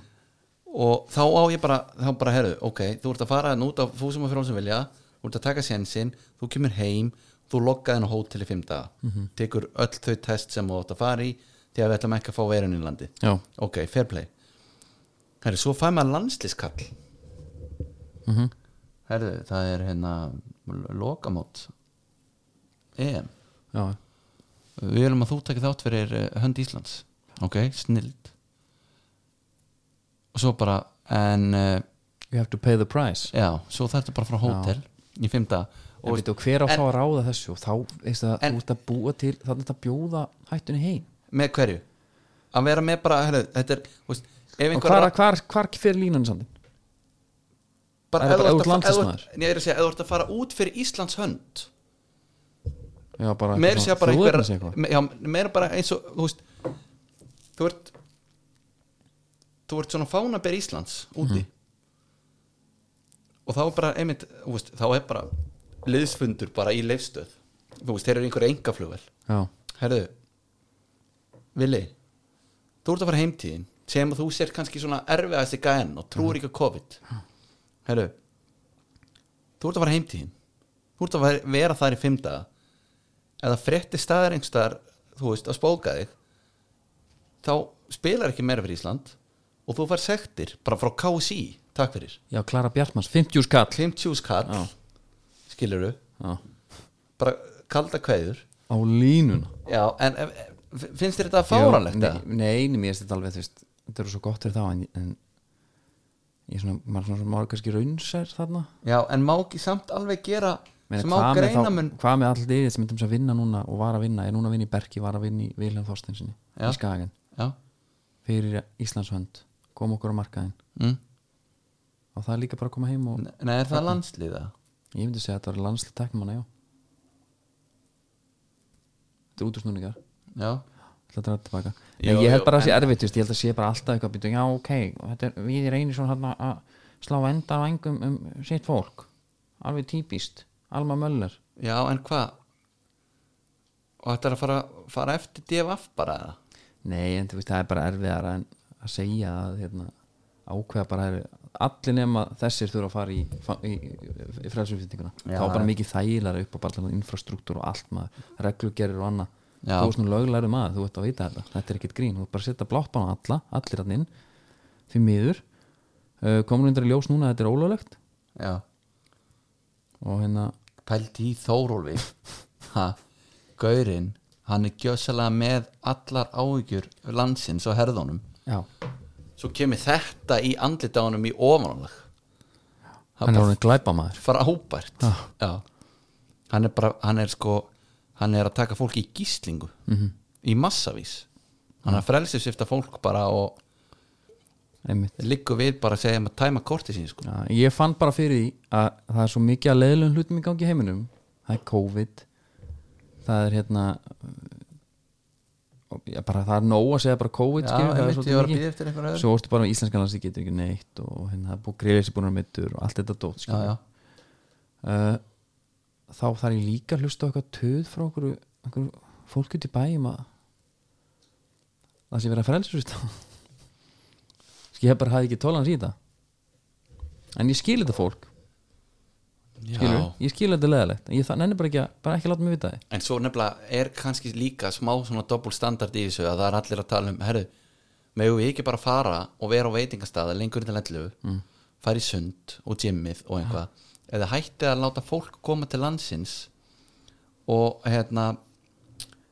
Speaker 2: og þá á ég bara, þá bara herðu ok, þú ert að fara hérna út af fúsum og fyrir hún sem vilja þú ert að taka sénsinn, þú kemur heim þú lokkaði henni á hótel í fimm daga tekur öll þau test sem þú átt að fara í því að við ætlum ekki að fá veirun í landi
Speaker 1: já
Speaker 2: ok, fair play herru, svo fæ maður landsliskall
Speaker 1: mm
Speaker 2: herru, það er hérna lokamót EM,
Speaker 1: já
Speaker 2: við viljum að þú takir þátt fyrir eh, hönd Íslands ok, snild og svo bara en uh,
Speaker 1: you have to pay the price
Speaker 2: Já, svo þarftu bara frá hótel í fimmta
Speaker 1: og,
Speaker 2: og
Speaker 1: veitu, og hver á
Speaker 2: en-
Speaker 1: þá að ráða þessu og þá veist það,
Speaker 2: En-
Speaker 1: þú ert að búa til þannig að bjóða hættunni heim
Speaker 2: með hverju að vera með bara, herru, þetta er þú veist, ef
Speaker 1: og
Speaker 2: einhver
Speaker 1: hvar, hvar, hvar fyrir línan sandin er
Speaker 2: bara, ef þú
Speaker 1: bara
Speaker 2: ert að-
Speaker 1: útlandsmaður?
Speaker 2: ef þú- Nei, ég er að segja, ef þú ert að fara út fyrir Íslands hönd
Speaker 1: já, bara,
Speaker 2: meira segja bara
Speaker 1: einhver,
Speaker 2: einhver me- já, meira bara eins og, þú veist þú ert þú ert svona fánaber Íslands úti og þá er bara einmitt, þú veist, þá er bara liðsfundur bara í leifstöð þú veist, þeir eru einhverja engaflugvel
Speaker 1: já,
Speaker 2: Herðu Vili Þú ert að fara heimtíðin sem að þú sér kannski svona erfiðast í gæðan og
Speaker 1: Mhm.
Speaker 2: trúir ekki á COVID Herðu Þú ert að fara heimtíðin Þú ert að vera- vera þar í fimm daga eða frétti staðar einhverstaðar þú veist að spóka þig þá spilar ekki meira fyrir Ísland og þú fær sektir bara frá KSI takk fyrir
Speaker 1: já, Klara Bjartmanns 50 skall
Speaker 2: Klimt
Speaker 1: Já.
Speaker 2: kall skilurðu
Speaker 1: já.
Speaker 2: bara kalda kveður
Speaker 1: á línuna
Speaker 2: Já, en ef- ef- finnst þér þetta fáranlegt?
Speaker 1: Já, nei, nei, nei, mér finnst þetta alveg þú veist, þetta eru svo gott fyrir þá en, en ég er svona, maður er svona maður er kannski raunsær þarna
Speaker 2: Já, en má ekki samt alveg gera
Speaker 1: Meina,
Speaker 2: Sem á
Speaker 1: hvað, með þá,
Speaker 2: greinamun-
Speaker 1: hvað með allir yfir sem myndum sem vinna núna og var að vinna er núna að vinna í Berki, var að vinna í Vilhelm Þorstinsinni
Speaker 2: Já.
Speaker 1: í Skagen
Speaker 2: já,
Speaker 1: fyrir Íslands hönd kom okkur á markaðin
Speaker 2: mm.
Speaker 1: og það er líka bara að koma heim og
Speaker 2: Nei, er það landslíða?
Speaker 1: ég myndi segja að þetta var landslið teknumanna, já Þetta er útusnúningar
Speaker 2: Já,
Speaker 1: ætla að draga tilbaka
Speaker 2: Jú,
Speaker 1: Nei, ég held
Speaker 2: jú,
Speaker 1: bara að það sé erfitt, veist, ég held að sé bara alltaf eitthvað býtum, já ok, þetta er, við reynir svona hann að slá enda á engum um sitt fólk, alveg típist Alma Möller,
Speaker 2: já, en hvað? Og þetta er að fara, fara eftir DFF bara eða?
Speaker 1: nei en þú veist það er bara erfiðara en að segja að hérna, ákveða bara er allir nema þessir þurfa að fara í, fa- í, í- í frelsumfyndinguna þá er bara mikið þægilega upp á bara allan infrastruktúr og allt maður, reglugerir og annað
Speaker 2: Já.
Speaker 1: þú veist nú löglæri maður, þú ert að vita þetta þetta er ekkit grín, þú ert bara að setja blátt bán á alla allir hann inn, því miður uh, komur undir í ljós núna að þetta er ólöglegt
Speaker 2: Já,
Speaker 1: og hérna,
Speaker 2: pælt í Þórólfi ha, Gaurinn hann er gjössalega með allar áhyggjur landsins og herðunum
Speaker 1: já
Speaker 2: svo kemur þetta í andlit á honum í ofanálag
Speaker 1: hann er honum glæpa maður
Speaker 2: frábært Já. hann er bara, hann er sko hann er að taka fólk í gíslingu
Speaker 1: Mhm.
Speaker 2: -hmm. í massavís hann er að frelsið sifta fólk bara og
Speaker 1: einmitt
Speaker 2: liggur við bara að segja um að tæma korti sín sko.
Speaker 1: Já, ég fann bara fyrir því að það er svo mikið að leiðlun hlutum í gangi í heiminum það er COVID það er hérna og já, bara, það er nóg að segja bara COVID
Speaker 2: Já,
Speaker 1: skilur, það er
Speaker 2: einmitt,
Speaker 1: svolítið
Speaker 2: ég var að
Speaker 1: mikið.
Speaker 2: bíða eftir einhverju öðru.
Speaker 1: svo vorstu bara á íslenskan lands ég getur ekki neitt og hérna það er búið greiðlega sér búin að mittur og allt þetta dót
Speaker 2: já,
Speaker 1: skilur.
Speaker 2: já,
Speaker 1: uh, þá þarf ég líka að hlusta á eitthvað töð frá okkur, okkur fólk út í bæjum að það sé verið að frelsust skil ég bara hafði ekki tólans í þetta en ég skil þetta fólk skilur,
Speaker 2: já.
Speaker 1: ég skil þetta leðalegt ég það nenni bara ekki að, bara ekki að láta mig vita þið
Speaker 2: en svo nefnilega er kannski líka smá svona doppul standard í þessu að það er allir að tala um herru, megum við ekki bara fara og vera á veitingastaða lengur til ellu mm. fara í sund og gymmið og einhvað eða hætti að láta fólk koma til landsins og hérna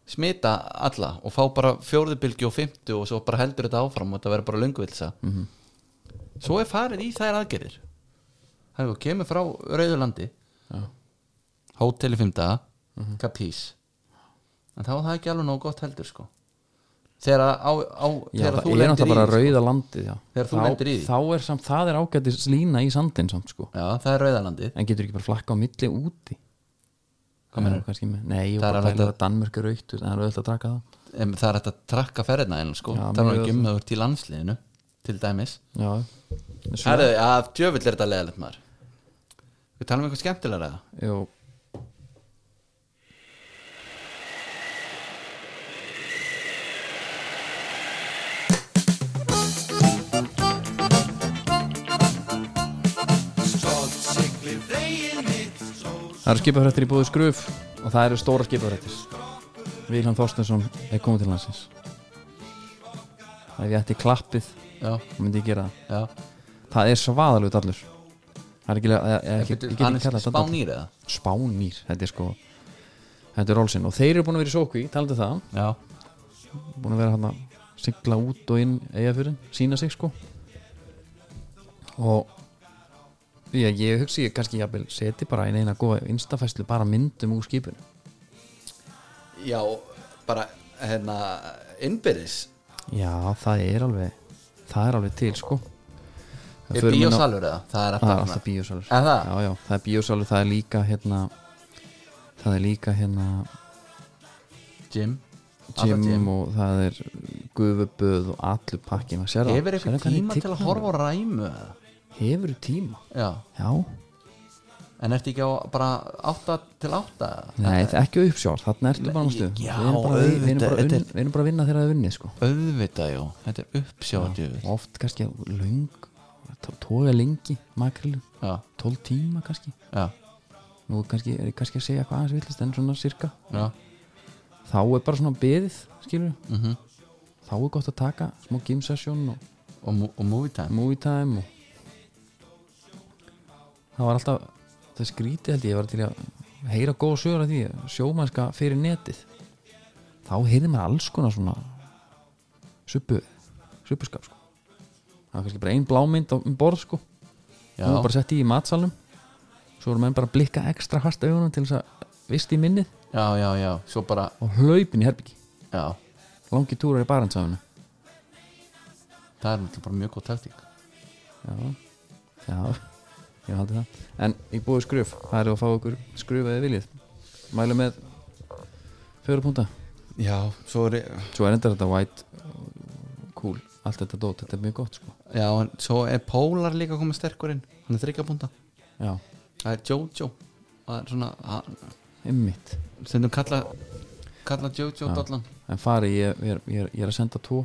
Speaker 2: smita alla og fá bara fjórðubilgi og fymtu og svo bara heldur þetta áfram og þetta verður bara lönguvilsa
Speaker 1: Mhm.
Speaker 2: -hmm. svo er farið í þær aðgerðir það er kemur frá Rauðurlandi
Speaker 1: Já. Mhm.
Speaker 2: hóteli fymta mm -hmm. kapís en þá er það ekki alveg nóg gott heldur sko þegar, að á, á,
Speaker 1: Já,
Speaker 2: þegar
Speaker 1: það
Speaker 2: þú
Speaker 1: er
Speaker 2: lendir
Speaker 1: náttúrulega bara
Speaker 2: í því, sko.
Speaker 1: rauða landið já.
Speaker 2: Þegar þú lendir í því.
Speaker 1: þá er samt, það er ágætis lína í sandin samt sko,
Speaker 2: sko. já, það er Rauðurlandi
Speaker 1: en getur ekki bara flakka á milli úti
Speaker 2: Hvað meinarðu?
Speaker 1: Já, kannski með- Nei, ég
Speaker 2: Það
Speaker 1: var
Speaker 2: er
Speaker 1: bara að
Speaker 2: alveg-
Speaker 1: pæla að Danmörk er rautt en það er auðvitað að draka það
Speaker 2: Em, það er hægt að trakka ferðina en sko,
Speaker 1: Já,
Speaker 2: það er
Speaker 1: mjög
Speaker 2: ekki um það úr til landsliðinu til dæmis
Speaker 1: Já, Svo-
Speaker 2: Herðu, að djöfull er þetta leðalegt maður Við tala um eitthvað skemmtilega
Speaker 1: Jú Það eru skipafrættir í búðu skruf og það eru stóra skipafrættir Vilhelm Þorstensson er komið til landsins Ef ég ætti klappið
Speaker 2: Já,
Speaker 1: þá myndi ég gera það
Speaker 2: já
Speaker 1: Það er svaðalut allur Það er ekki, ég, ég, ég, ég, ég,
Speaker 2: Hann
Speaker 1: ég,
Speaker 2: er
Speaker 1: ég, ég,
Speaker 2: spánýr eða
Speaker 1: spánir þetta er sko þetta er rólsinn og þeir eru búin að vera í sókví talandi um það,
Speaker 2: Já,
Speaker 1: búin að vera hann að sigla út og inn eiga fyrir sína sig sko og ég, ég hugsi ég kannski jafnvel seti bara eina eina góða instafæslu bara myndum úr skipinu
Speaker 2: já bara hérna innbyrðis
Speaker 1: já það er alveg það er alveg til sko Það
Speaker 2: Er
Speaker 1: förum inn á-
Speaker 2: bíósalur eða? Það er
Speaker 1: það er
Speaker 2: alltaf
Speaker 1: Ah, alltaf bíósalur
Speaker 2: Er það?
Speaker 1: Já, já, það er bíósalur, það er líka hérna það er líka hérna
Speaker 2: Jim
Speaker 1: gym, og það er gufuböð og allur pakkin að sér
Speaker 2: Hefur eitthvað tíma til að horfa á ræmu eða?
Speaker 1: hefur tíma
Speaker 2: Já,
Speaker 1: já,
Speaker 2: en ertu ekki á bara 8 til 8
Speaker 1: nei, það er ekki uppsjálf þarna ertu bara á
Speaker 2: Nei,
Speaker 1: stuð við
Speaker 2: já,
Speaker 1: erum bara, við, við erum bara,
Speaker 2: auðvitað,
Speaker 1: unn, við erum bara að vinna þegar það er unnið sko.
Speaker 2: Öðvitað, jú, þetta er uppsjáðjöfull
Speaker 1: Og oft kannski löng tó- toga lengi, makrilu
Speaker 2: Já,
Speaker 1: 12 tíma kannski
Speaker 2: já,
Speaker 1: nú kannski, er ég kannski að segja eitthvað aðeins villist en svona cirka
Speaker 2: já
Speaker 1: þá er bara svona beðið, skilur
Speaker 2: mm
Speaker 1: þá er gott að taka smá gym session og
Speaker 2: og, mo- og movie time
Speaker 1: movie time og það var alltaf það skrítið held ég, ég var til að heyra góð sögur af því, sjómannska fyrir netið þá heyrði maður alls konar svona suppu, suppuskap sko það var kannski bara ein blámynd á- um borð sko
Speaker 2: Já,
Speaker 1: hún var bara sett í í matsalum svo voru menn bara að blikka ekstra fast augunum til þess að vist í minnið
Speaker 2: já, já, já, svo bara
Speaker 1: og hlaupin í herbyggi
Speaker 2: já,
Speaker 1: langi túrar í barendsafinu
Speaker 2: það er náttúrulega bara mjög góð taktík
Speaker 1: já, já, ég haldi það en ég búið skröf, það er að fá ykkur skröf eða viljið, mælu með fjóra púnta
Speaker 2: já, svo er
Speaker 1: svo er enda þetta white cool, allt þetta dót, þetta er mjög gott sko
Speaker 2: já, en svo er Pólar líka komið sterkur inn hann er þryggjapunta,
Speaker 1: já,
Speaker 2: það er Jojo það er svona, hann,
Speaker 1: ymmit
Speaker 2: stundum kalla kalla Jojo dollan,
Speaker 1: en fari, ég, ég, er- ég, er- ég er að senda tvo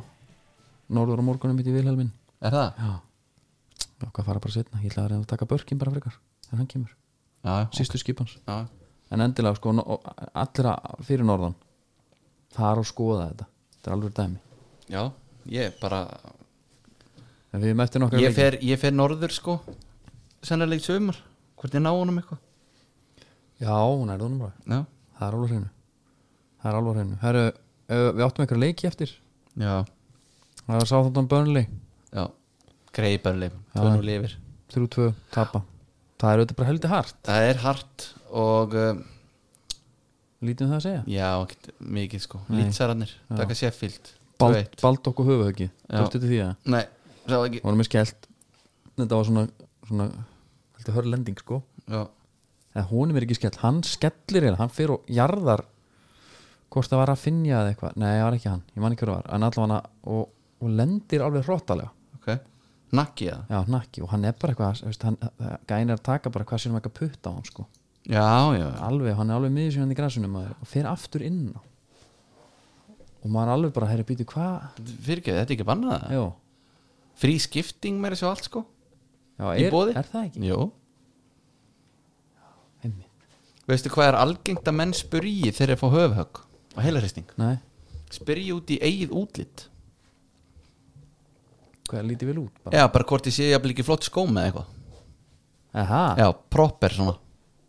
Speaker 1: norður á morgunum mitt í Vilhelmin
Speaker 2: er það?
Speaker 1: já, já, hvað fara bara setna ég ætla að reyna að taka börkin bara frekar þegar hann kemur,
Speaker 2: já, já,
Speaker 1: sístu skipans
Speaker 2: já,
Speaker 1: en endilega sko, no- og allra fyrir norðan fara og skoða þetta þetta er alveg dæmi
Speaker 2: já ég bara
Speaker 1: en við erum eftir nokkar
Speaker 2: ég fer, ég fer norður sko sennilega í sömur, hvort ég ná honum eitthvað
Speaker 1: já, hún er það bara
Speaker 2: já,
Speaker 1: það er alveg á hreinu það er alveg á hreinu Heru, uh, við áttum einhverja leiki eftir
Speaker 2: já,
Speaker 1: það var sáþáttan Burnley
Speaker 2: já greiparleif,
Speaker 1: Já.
Speaker 2: tvö nú lifir
Speaker 1: 3-2, tapa það er auðvitað bara heldur hart
Speaker 2: það er hart og um,
Speaker 1: lítið um það að segja
Speaker 2: já, ekkert mikið sko
Speaker 1: Nei.
Speaker 2: lýtsararnir,
Speaker 1: Já.
Speaker 2: taka Sheffield
Speaker 1: bald,
Speaker 2: 2-1.
Speaker 1: bald okkur höfuð ekki
Speaker 2: Já.
Speaker 1: tókstu til því að
Speaker 2: nei, sá ekki
Speaker 1: vorum við skellt þetta var svona, svona heldur hörlending sko
Speaker 2: já,
Speaker 1: eða honum er ekki skellt, hann skellir hérna, hann fyrir og jarðar hvort það var að finja eða eitthvað, nei það var ekki hann, ég man ekki hver það var en allavega og, og lendir alveg hróttalega
Speaker 2: ok, nakki það
Speaker 1: já, nakki, og hann er bara eitthvað veist, hann, það- gæni er að taka bara hvað sér um ekki að putta á hann sko,
Speaker 2: já, já,
Speaker 1: alveg, hann er alveg miður sér hann í græsunum maður, og fer aftur inn á og maður er alveg bara, herri býtu hvað
Speaker 2: fyrir ekki, þetta er ekki bannað það
Speaker 1: já,
Speaker 2: frí skipting meira svo allt sko
Speaker 1: já er,
Speaker 2: Í boði?
Speaker 1: er það ekki
Speaker 2: jú,
Speaker 1: Einmitt.
Speaker 2: veistu hvað er algengt að menn spyrji þegar þeir fá höfhögg og heilaristning
Speaker 1: nei,
Speaker 2: spyrji út í eigið útlitt
Speaker 1: hvað er lítið vel út bara.
Speaker 2: Já, bara hvort ég sé jafnvel ekki flott skóm eða eitthvað
Speaker 1: aha,
Speaker 2: Já, proper svona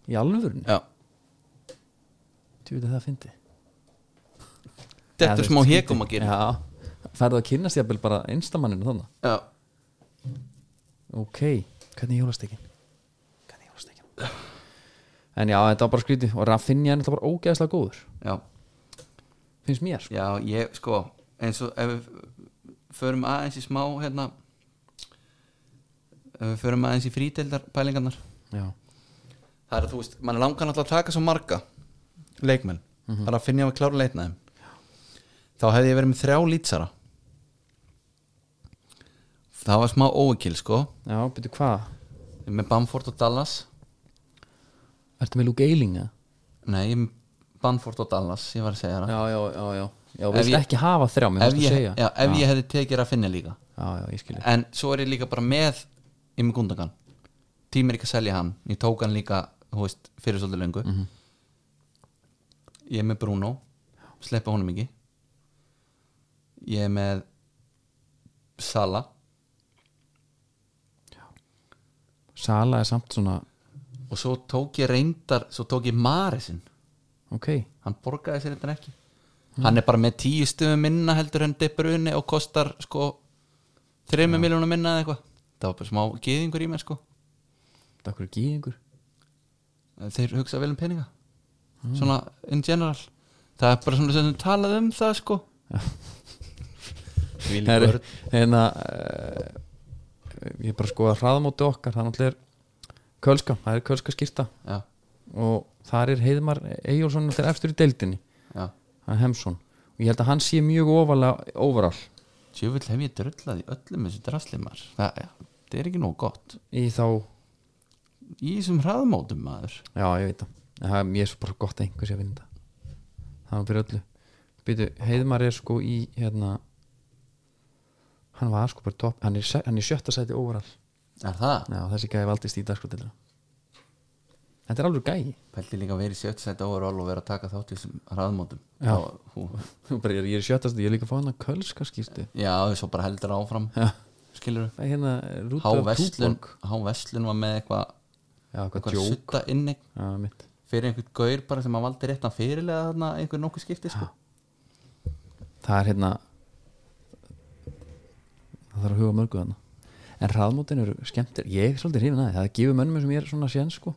Speaker 1: í alvörun
Speaker 2: Já,
Speaker 1: þú veit að það fyndi
Speaker 2: þetta er smá hekum að gera
Speaker 1: já, færðu að kynast ég bara einstamanninu þannig
Speaker 2: Já,
Speaker 1: ok, hvernig jólastekkin hvernig jólastekkin en já, þetta var bara skrítið og Raffinja er náttúrulega bara ógeðslega góður
Speaker 2: já,
Speaker 1: finnst mér sko.
Speaker 2: já, ég sko eins og ef við förum aðeins í smá hérna ef við förum aðeins í frítildar pælingarnar
Speaker 1: já,
Speaker 2: Það er að þú veist, mann langar náttúrulega að taka svo marga leikmenn
Speaker 1: Mhm.
Speaker 2: bara að finna ég að klára leitnaðum þá hefði ég verið með þrjá lýtsara það var smá óekil sko
Speaker 1: já, betur hvað
Speaker 2: með Bamford og Dallas
Speaker 1: ertu með Luke Eiling eða?
Speaker 2: Nei, ég- Banford og Dallas, ég var að segja það
Speaker 1: já, já, já, já, já
Speaker 2: Ef
Speaker 1: vilt
Speaker 2: ég-
Speaker 1: ekki hafa þrjá, mér
Speaker 2: Ef,
Speaker 1: fannst að
Speaker 2: ég,
Speaker 1: segja
Speaker 2: já, ef ég hefði tekið að finna líka
Speaker 1: já, já, ég skilja
Speaker 2: En svo er ég líka bara með Imi Gundogan Tímir ekki að selja hann, ég tók hann líka þú veist, fyrir svolítið löngu Ég er með Bruno Sleppa honum ekki Ég er með Sala
Speaker 1: Sala er samt svona,
Speaker 2: Og svo tók ég reyndar Svo tók ég Marisinn
Speaker 1: ok
Speaker 2: Hann borgaði sér þetta ekki Hann er bara með tíu stöfum minna heldur en Debruni og kostar sko þreymur miljónum minna eða eitthvað Það var bara smá geðingur í mér sko
Speaker 1: það okkur er gíðingur
Speaker 2: þeir hugsa vel um peninga svona in general það er bara svona sem þau talað um það sko Þvílík
Speaker 1: Herri,
Speaker 2: vörn.
Speaker 1: hérna uh, ég er bara að skoða hraðamóti okkar það náttúrulega er kölska, það er kölska skýrta
Speaker 2: já,
Speaker 1: og þar er Heiðmar Eyjólfsson náttúrulega eftir í deildinni
Speaker 2: já,
Speaker 1: hann Hemsson og ég held að hann sé mjög ofalega overall
Speaker 2: tjöfull hef ég drullað í öllum þessu draslimar það, ja, það er ekki nóg gott
Speaker 1: í þá,
Speaker 2: í þessum hraðmótum maður
Speaker 1: já ég veit það En það er mér svo bara gott að einhver sé að vinna þetta það var fyrir öllu Býtu, Heiðmar er sko í hérna hann var sko bara topp hann er, se- hann er í sjötta sæti overall
Speaker 2: er það,
Speaker 1: já, þessi gæði valdist í dagskotilra þetta er alveg gæði
Speaker 2: pælti líka að vera í sjötsætt overall og vera að taka þátt í þessum hraðmótum
Speaker 1: Já.
Speaker 2: Þá- hú,
Speaker 1: Þú bara, ég er- ég er í sjötta sæti, ég er líka að fá hann að kölska skýrti
Speaker 2: já, svo bara heldur áfram
Speaker 1: Já.
Speaker 2: skilur
Speaker 1: Það er hérna
Speaker 2: Há
Speaker 1: Rúdolf
Speaker 2: Vestlun,
Speaker 1: Túborg.
Speaker 2: Há Vestlun var með eitthvað
Speaker 1: já, hvað
Speaker 2: eitthvað
Speaker 1: djók
Speaker 2: sutta innig
Speaker 1: já, mitt
Speaker 2: fyrir einhvern gaur bara sem að valdi réttan fyrirlega þarna einhver nokkuð skipti sko.
Speaker 1: það er hérna það þarf að huga mörgu þarna en hraðmótin eru skemmtir ég er svolítið hrifin aðeins, það gefur mönnum sem ég er svona sén sko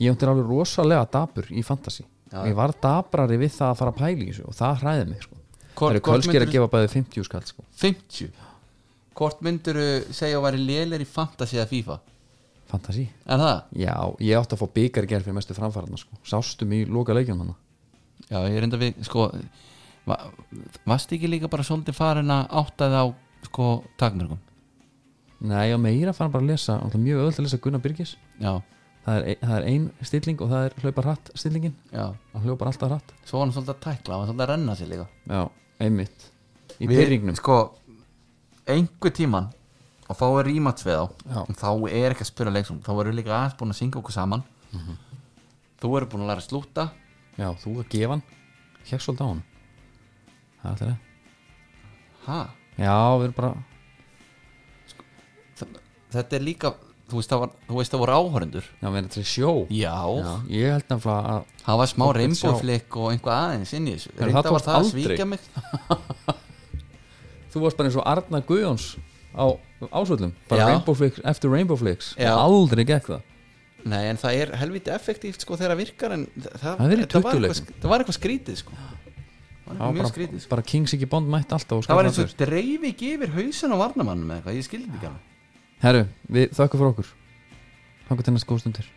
Speaker 1: ég átti alveg rosalega dapur í fantasy
Speaker 2: Já.
Speaker 1: ég var daprari við það að fara að pæla í þessu og það hræði mig sko.
Speaker 2: Hvor-
Speaker 1: það eru
Speaker 2: hvort
Speaker 1: kölskir að
Speaker 2: myndirðu-
Speaker 1: gefa bæði 50 skall sko.
Speaker 2: 50 Hvort myndur segja að væri lélir í fantasy eða FIFA?
Speaker 1: fantasy,
Speaker 2: Er það?
Speaker 1: já, ég átti að fá byggar gerð fyrir mestu framfæraðna sko. sástum í loka leikjum hana
Speaker 2: Já, ég reynda við, sko va, Vast ekki líka bara svolítið farin að átta það á, sko, takmörgum
Speaker 1: nei, og meira fann bara að lesa náttúrulega mjög öðvöld að lesa Gunnar Byrgis
Speaker 2: Já,
Speaker 1: það er, það er ein stilling og það er hlaupa hratt stillingin
Speaker 2: já
Speaker 1: hann hljópar alltaf hratt
Speaker 2: Svo var hann svolítið að tækla, hann var svolítið að renna sér líka
Speaker 1: já, einmitt, í
Speaker 2: Við-
Speaker 1: byrjingnum
Speaker 2: Sko, einhver tíman og þá er rímats við á
Speaker 1: Já.
Speaker 2: þá er ekki að spyrja leiksum, þá erum við líka aðeins búin að syngja okkur saman Mhm. Þú eru búin að læra að slúta
Speaker 1: já, þú að gefa hann hekk svolítið á hann það er alltaf það
Speaker 2: Ha?
Speaker 1: já, við erum bara
Speaker 2: Þ- Þetta er líka, þú veist það, var, þú veist, það voru áhörendur
Speaker 1: já, við erum þetta í sjó
Speaker 2: Já,
Speaker 1: Já, ég held nefnilega að
Speaker 2: það var smá
Speaker 1: Þú vilt sjá.
Speaker 2: reimbóflik og einhvað aðeins inn í þessu
Speaker 1: Heyrðu,
Speaker 2: Reynda
Speaker 1: það
Speaker 2: var
Speaker 1: tókst
Speaker 2: það að
Speaker 1: aldrei.
Speaker 2: svíkja mig
Speaker 1: þú varst bara eins og Arna Guðjóns á ásvöldum, bara
Speaker 2: Já.
Speaker 1: Rainbow Flix eftir Rainbow Flix,
Speaker 2: Já.
Speaker 1: aldrei gekk það
Speaker 2: Nei, en það er helviti effektíft sko þegar það virkar en það,
Speaker 1: Það er í
Speaker 2: þetta var
Speaker 1: 20
Speaker 2: eitthvað sk- það var eitthvað skrítið sko Það var
Speaker 1: það
Speaker 2: eitthvað
Speaker 1: var
Speaker 2: mjög
Speaker 1: bara,
Speaker 2: skrítið sko
Speaker 1: bara Kings ekki bond mætt alltaf og
Speaker 2: Það
Speaker 1: skapaði
Speaker 2: var eins og dreif ekki yfir hausin á varnamannum eða eitthvað, ég skildi þetta ekki alveg
Speaker 1: Herru, við þökkum fyrir okkur Þangar til næst góðstundir